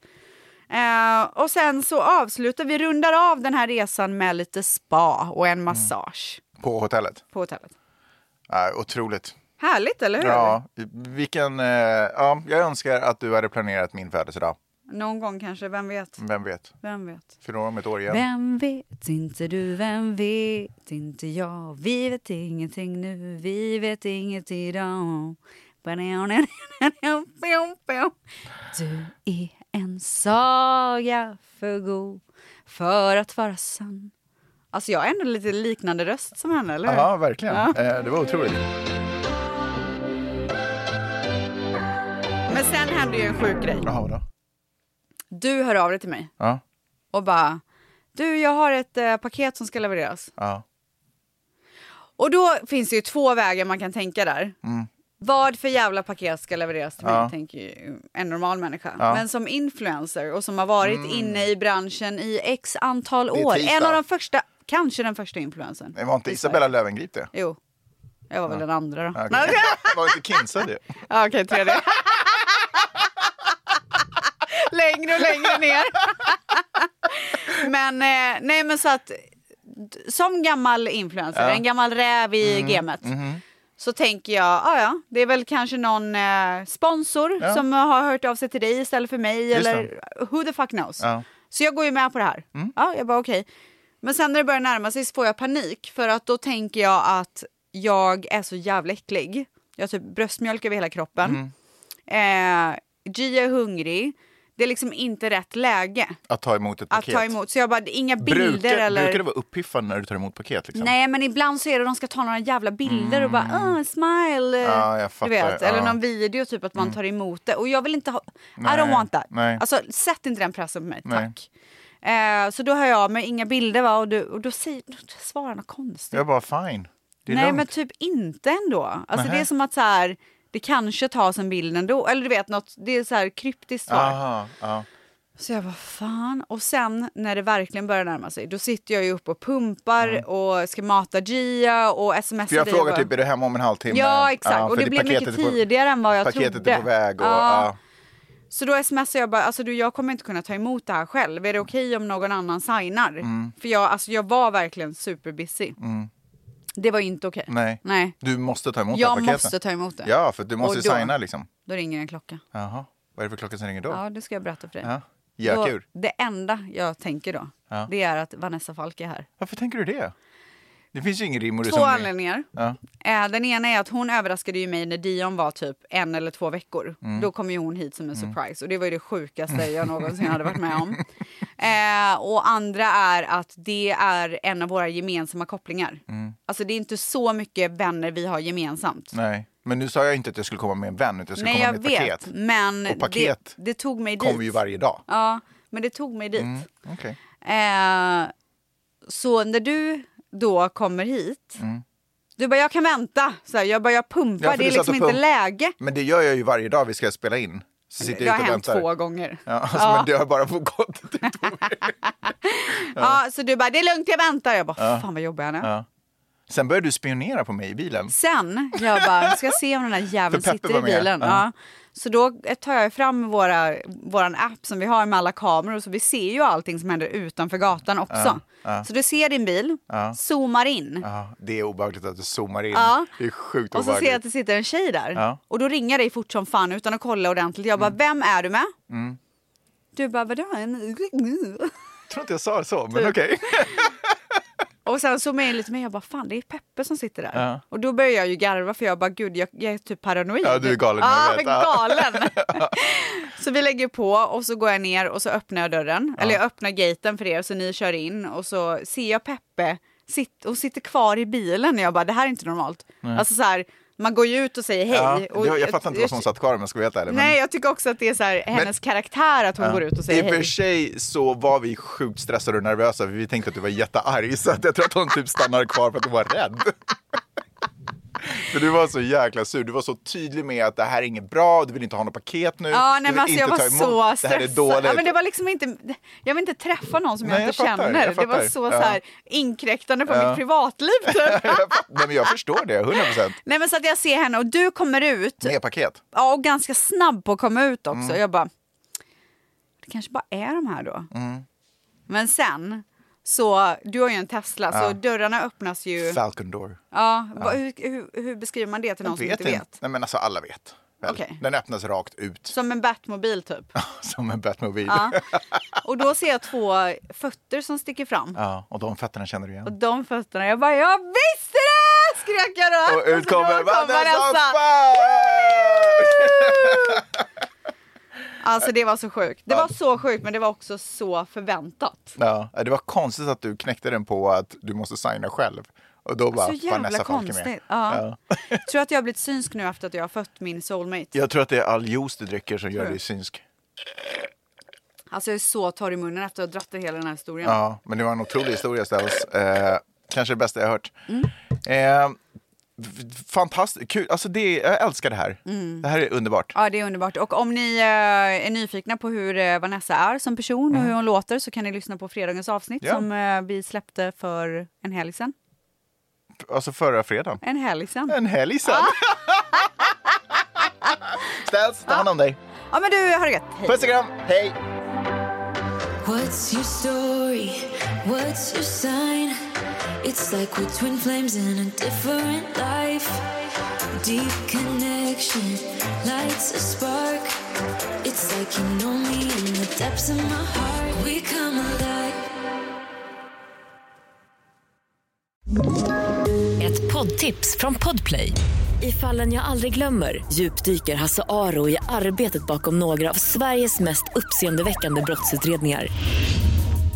B: Eh, och sen så avslutar vi, rundar av den här resan med lite spa och
A: Mm.
B: en massage
A: På hotellet?
B: på hotellet.
A: Ja, otroligt.
B: Härligt eller hur?
A: Ja, vilken, eh, ja, jag önskar att du hade planerat min födelsedag.
B: Någon gång kanske, vem vet?
A: Vem vet,
B: Vem vet?
A: fyller år om ett år igen.
B: Vem vet inte du, vem vet inte jag Vi vet ingenting nu, vi vet inget idag Du är en saga för god för att vara sann Alltså jag har ändå lite liknande röst som henne, eller hur?
A: Ja, verkligen. Eh, det var otroligt.
B: Men sen hände ju en sjuk grej.
A: Jaha, då.
B: Du hör av dig till mig
A: Ja,
B: och bara Du, jag har ett eh, paket som ska levereras.
A: ja.
B: Och då finns det ju två vägar man kan tänka där.
A: Mm.
B: Vad för jävla paket ska levereras till mig, tänker ju en normal människa. Men som influencer och som har varit inne i branschen i x antal
A: Mm. är
B: år.
A: tisdag.
B: En av de första, kanske den första influencern.
A: Det var inte
B: i
A: Isabella Löwengrip det?
B: Sverige. Jo. Jag var väl den andra då.
A: Okej.
B: Nej,
A: Var inte Kinsa det?
B: Ja, Okej, tredje. längre och längre ner. men, eh, nej, men så att d- som gammal influencer, en gammal räv i
A: Mm,
B: gamet.
A: mm-hmm.
B: Så tänker jag, ja ja, det är väl kanske någon eh, sponsor
A: Ja.
B: som har hört av sig till dig istället för mig.
A: Just
B: eller who the fuck knows.
A: Ja. Mm.
B: Så jag går ju med på det här. Ja, jag bara okej. Men sen när det börjar närma sig så får jag panik för att då tänker jag att jag är så jävla äcklig. Jag har typ bröstmjölk över hela kroppen.
A: Mm.
B: Eh, Gia är hungrig. Det är liksom inte rätt läge
A: Att ta emot ett
B: att
A: paket?
B: ta emot. Så jag bara, det är inga bilder
A: Brukar,
B: eller...
A: brukar det vara uppiffande när du tar emot paket? Liksom?
B: Nej, men ibland så är det de ska ta några jävla bilder och bara ah, smile.
A: Mm. Ja, jag
B: du
A: fattar.
B: vet. Eller
A: Ja. Mm.
B: någon video, typ att man tar emot det. Och jag vill inte ha... I don't want that.
A: Nej.
B: Alltså, sätt inte den pressen på mig,
A: Nej.
B: tack. Eh, så då hör jag av mig, inga bilder va? Och, du, och då, säger, då svarar han något konstigt.
A: Jag bara fine. Det är
B: Nej, men
A: lugnt.
B: typ inte ändå. Alltså
A: Nähä.
B: det är som att så här, det kanske tas en bild ändå. Eller du vet, något, det är så här kryptiskt svar.
A: Aha, ja.
B: Så jag bara, fan. Och sen när det verkligen börjar närma sig, då sitter jag ju uppe och pumpar och ska mata Gia och smsar
A: Mm. För jag
B: dig
A: frågar
B: bara-
A: typ, är du hemma om en halvtimme?
B: Ja, exakt.
A: Ja,
B: och
A: för
B: det blev
A: paketet
B: mycket
A: är på-
B: tidigare än vad jag
A: paketet
B: trodde.
A: är på väg och...
B: Ja.
A: ja.
B: Så då smsar jag bara, alltså du jag kommer inte kunna ta emot det här själv. Är det okej om någon annan signar?
A: Mm.
B: För jag, alltså, jag var verkligen superbusy.
A: Mm.
B: Det var inte okej.
A: Nej.
B: Nej.
A: Du måste ta emot det här
B: Jag
A: paketet.
B: måste ta emot det.
A: Ja, för du måste
B: Och
A: ju
B: då-
A: signa liksom.
B: Då ringer en klocka.
A: Jaha. Vad är det för klocka som ringer då?
B: Ja, det ska jag berätta för dig.
A: Ja. Gökur.
B: Då- Det enda jag tänker då,
A: Ja.
B: det är att Vanessa Falk är här.
A: Varför tänker du det? Det finns ju ingen rim och
B: Två
A: reson i-
B: anledningar.
A: Ja.
B: Eh, Den ena är att hon överraskade ju mig när Dion var typ en eller två veckor.
A: Mm.
B: Då kom ju hon hit som en surprise och det var ju det sjukaste jag någonsin hade varit med om. Eh, och andra är att det är en av våra gemensamma kopplingar.
A: Mm.
B: Alltså det är inte så mycket vänner vi har gemensamt.
A: Nej, men nu sa jag inte att jag skulle komma med en vän, utan jag skulle
B: Nej
A: komma
B: jag
A: med ett
B: vet,
A: paket.
B: men
A: Och paket
B: det, det tog mig dit.
A: Kommer ju varje dag.
B: Ja, men det tog mig dit.
A: Mm. Okej.
B: Eh, så när du då kommer hit,
A: Mm.
B: du bara jag kan vänta, så här, jag bara jag pumpar,
A: Ja, för
B: det
A: du
B: är
A: satt
B: liksom
A: och
B: inte
A: pump-
B: läge.
A: Men det gör jag ju varje dag vi ska spela in. Så sitter
B: Det
A: jag
B: har
A: ute och
B: hänt
A: väntar.
B: två gånger.
A: Ja, alltså,
B: Ja.
A: Men det har bara pågått.
B: Ja. så du bara det är lugnt jag väntar, jag bara
A: Ja.
B: fan vad jobbar jag nu.
A: Ja. Sen började du spionera på mig i bilen.
B: Sen, jag bara, ska se om den här jäveln
A: För Peppe
B: sitter
A: var
B: i
A: med,
B: bilen.
A: ja.
B: Ja. Så då tar jag fram våra, våran app som vi har med alla kameror så vi ser ju allting som händer utanför gatan också.
A: Ja, ja.
B: Så du ser din bil,
A: Ja.
B: zoomar in
A: Ja, det är obehagligt att du zoomar in.
B: Ja.
A: Det är sjukt
B: och så
A: obehagligt.
B: ser jag att det sitter en tjej där.
A: Ja.
B: Och då ringer jag dig fort som fan utan att kolla ordentligt. Jag bara, vem är du med?
A: Mm.
B: Du bara, vadå? En-
A: Jag tror inte jag sa det så,
B: typ
A: men okej.
B: Och sen zoomar jag in lite mer. Jag bara, fan det är Peppe som sitter där.
A: Ja.
B: Och då börjar jag ju garva för jag bara, gud jag, jag är typ paranoid.
A: Ja, du är galen,
B: Ja,
A: jag vet. Ja.
B: galen. så vi lägger på och så går jag ner och så öppnar jag dörren. Eller jag öppnar gaten för er så ni kör in och så ser jag Peppe. Sitt, och sitter kvar i bilen. Jag bara, det här är inte normalt. Alltså så här, man går ju ut och säger
A: Ja,
B: hej.
A: det-
B: och
A: jag, jag fattar inte vad som satt kvar om jag ska vara helt ärlig. men-
B: Nej, jag tycker också att det är så här, hennes karaktär att hon
A: Ja.
B: går ut och säger
A: I och för
B: hej.
A: sig så var vi sjukt stressade och nervösa för vi tänkte att du var jättearg så att jag tror att hon typ stannade kvar för att hon var rädd. För du var så jäkla sur. Du var så tydlig med att det här är inget bra, du vill inte ha något paket nu.
B: Ja,
A: du
B: nej,
A: vill
B: men alltså, jag
A: inte
B: var
A: ta
B: så
A: emot, Det här är dåligt.
B: stressad. Ja, men det var liksom inte, jag vill inte träffa någon som
A: Nej,
B: jag
A: jag
B: inte
A: fattar,
B: känner.
A: jag
B: Det var
A: fattar.
B: så,
A: Ja.
B: så här, inkräktande på
A: Ja.
B: mitt privatliv. Typ.
A: nej, men jag förstår det, 100 procent.
B: nej, men så att jag ser henne och du kommer ut
A: Med paket.
B: ja, och ganska snabb på att komma ut också. Jag bara, det kanske bara är de här då.
A: Mm.
B: Men sen, så du har ju en Tesla
A: Ja.
B: så dörrarna öppnas ju.
A: Falcon Door.
B: Ja, va- Hur, hur, hur beskriver man det till
A: Jag
B: någon som inte vet?
A: Nej, men alltså alla vet. väl.
B: Okej.
A: Den öppnas rakt ut
B: Som en Batmobil typ.
A: som en Batmobil.
B: Ja. Och då ser jag två fötter som sticker fram.
A: Ja, och de fötterna känner du igen.
B: Och de fötterna, jag bara jag visste det! Skrek jag då.
A: Och ut
B: så då
A: kommer Vanessa
B: Vanessa.
A: Falk!
B: Alltså det var så sjukt. Det var så sjukt men det var också så förväntat.
A: Ja, det var konstigt att du knäckte den på att du måste signa själv. Och då bara,
B: Så jävla
A: Vanessa Falk är med.
B: konstigt. Ja. Tror att jag har blivit synsk nu efter att jag har fött min soulmate.
A: Jag tror att det är all juice du dricker som gör
B: du?
A: dig synsk.
B: Alltså jag är så torr i munnen efter att ha dragit hela den här historien.
A: Ja, men det var en otrolig historia Stells. Eh, kanske det bästa jag har hört.
B: Mm.
A: Eh, f- fantastiskt, kul. Alltså det, jag älskar det här.
B: Mm.
A: Det här är underbart.
B: Ja, det är underbart. Och om ni eh, är nyfikna på hur eh, Vanessa är som person och hur hon låter så kan ni lyssna på fredagens avsnitt
A: Mm. Ja.
B: som eh, vi släppte för en helg sedan.
A: Alltså förra fredagen.
B: En helg sedan.
A: En helg sen.
B: Ah.
A: Stells, ta hand om dig.
B: Ja, men du, ha det gött. Hej.
A: Puss och kram, hej!
C: What's your story? What's your sign? It's like we're twin flames in a different life. Deep connection lights a spark. It's like you know me in the depths of my heart. We come alive.
E: Ett poddtips från Podplay. I fallen jag aldrig glömmer djupdyker Hasse Aro i arbetet bakom några av Sveriges mest uppseendeväckande brottsutredningar.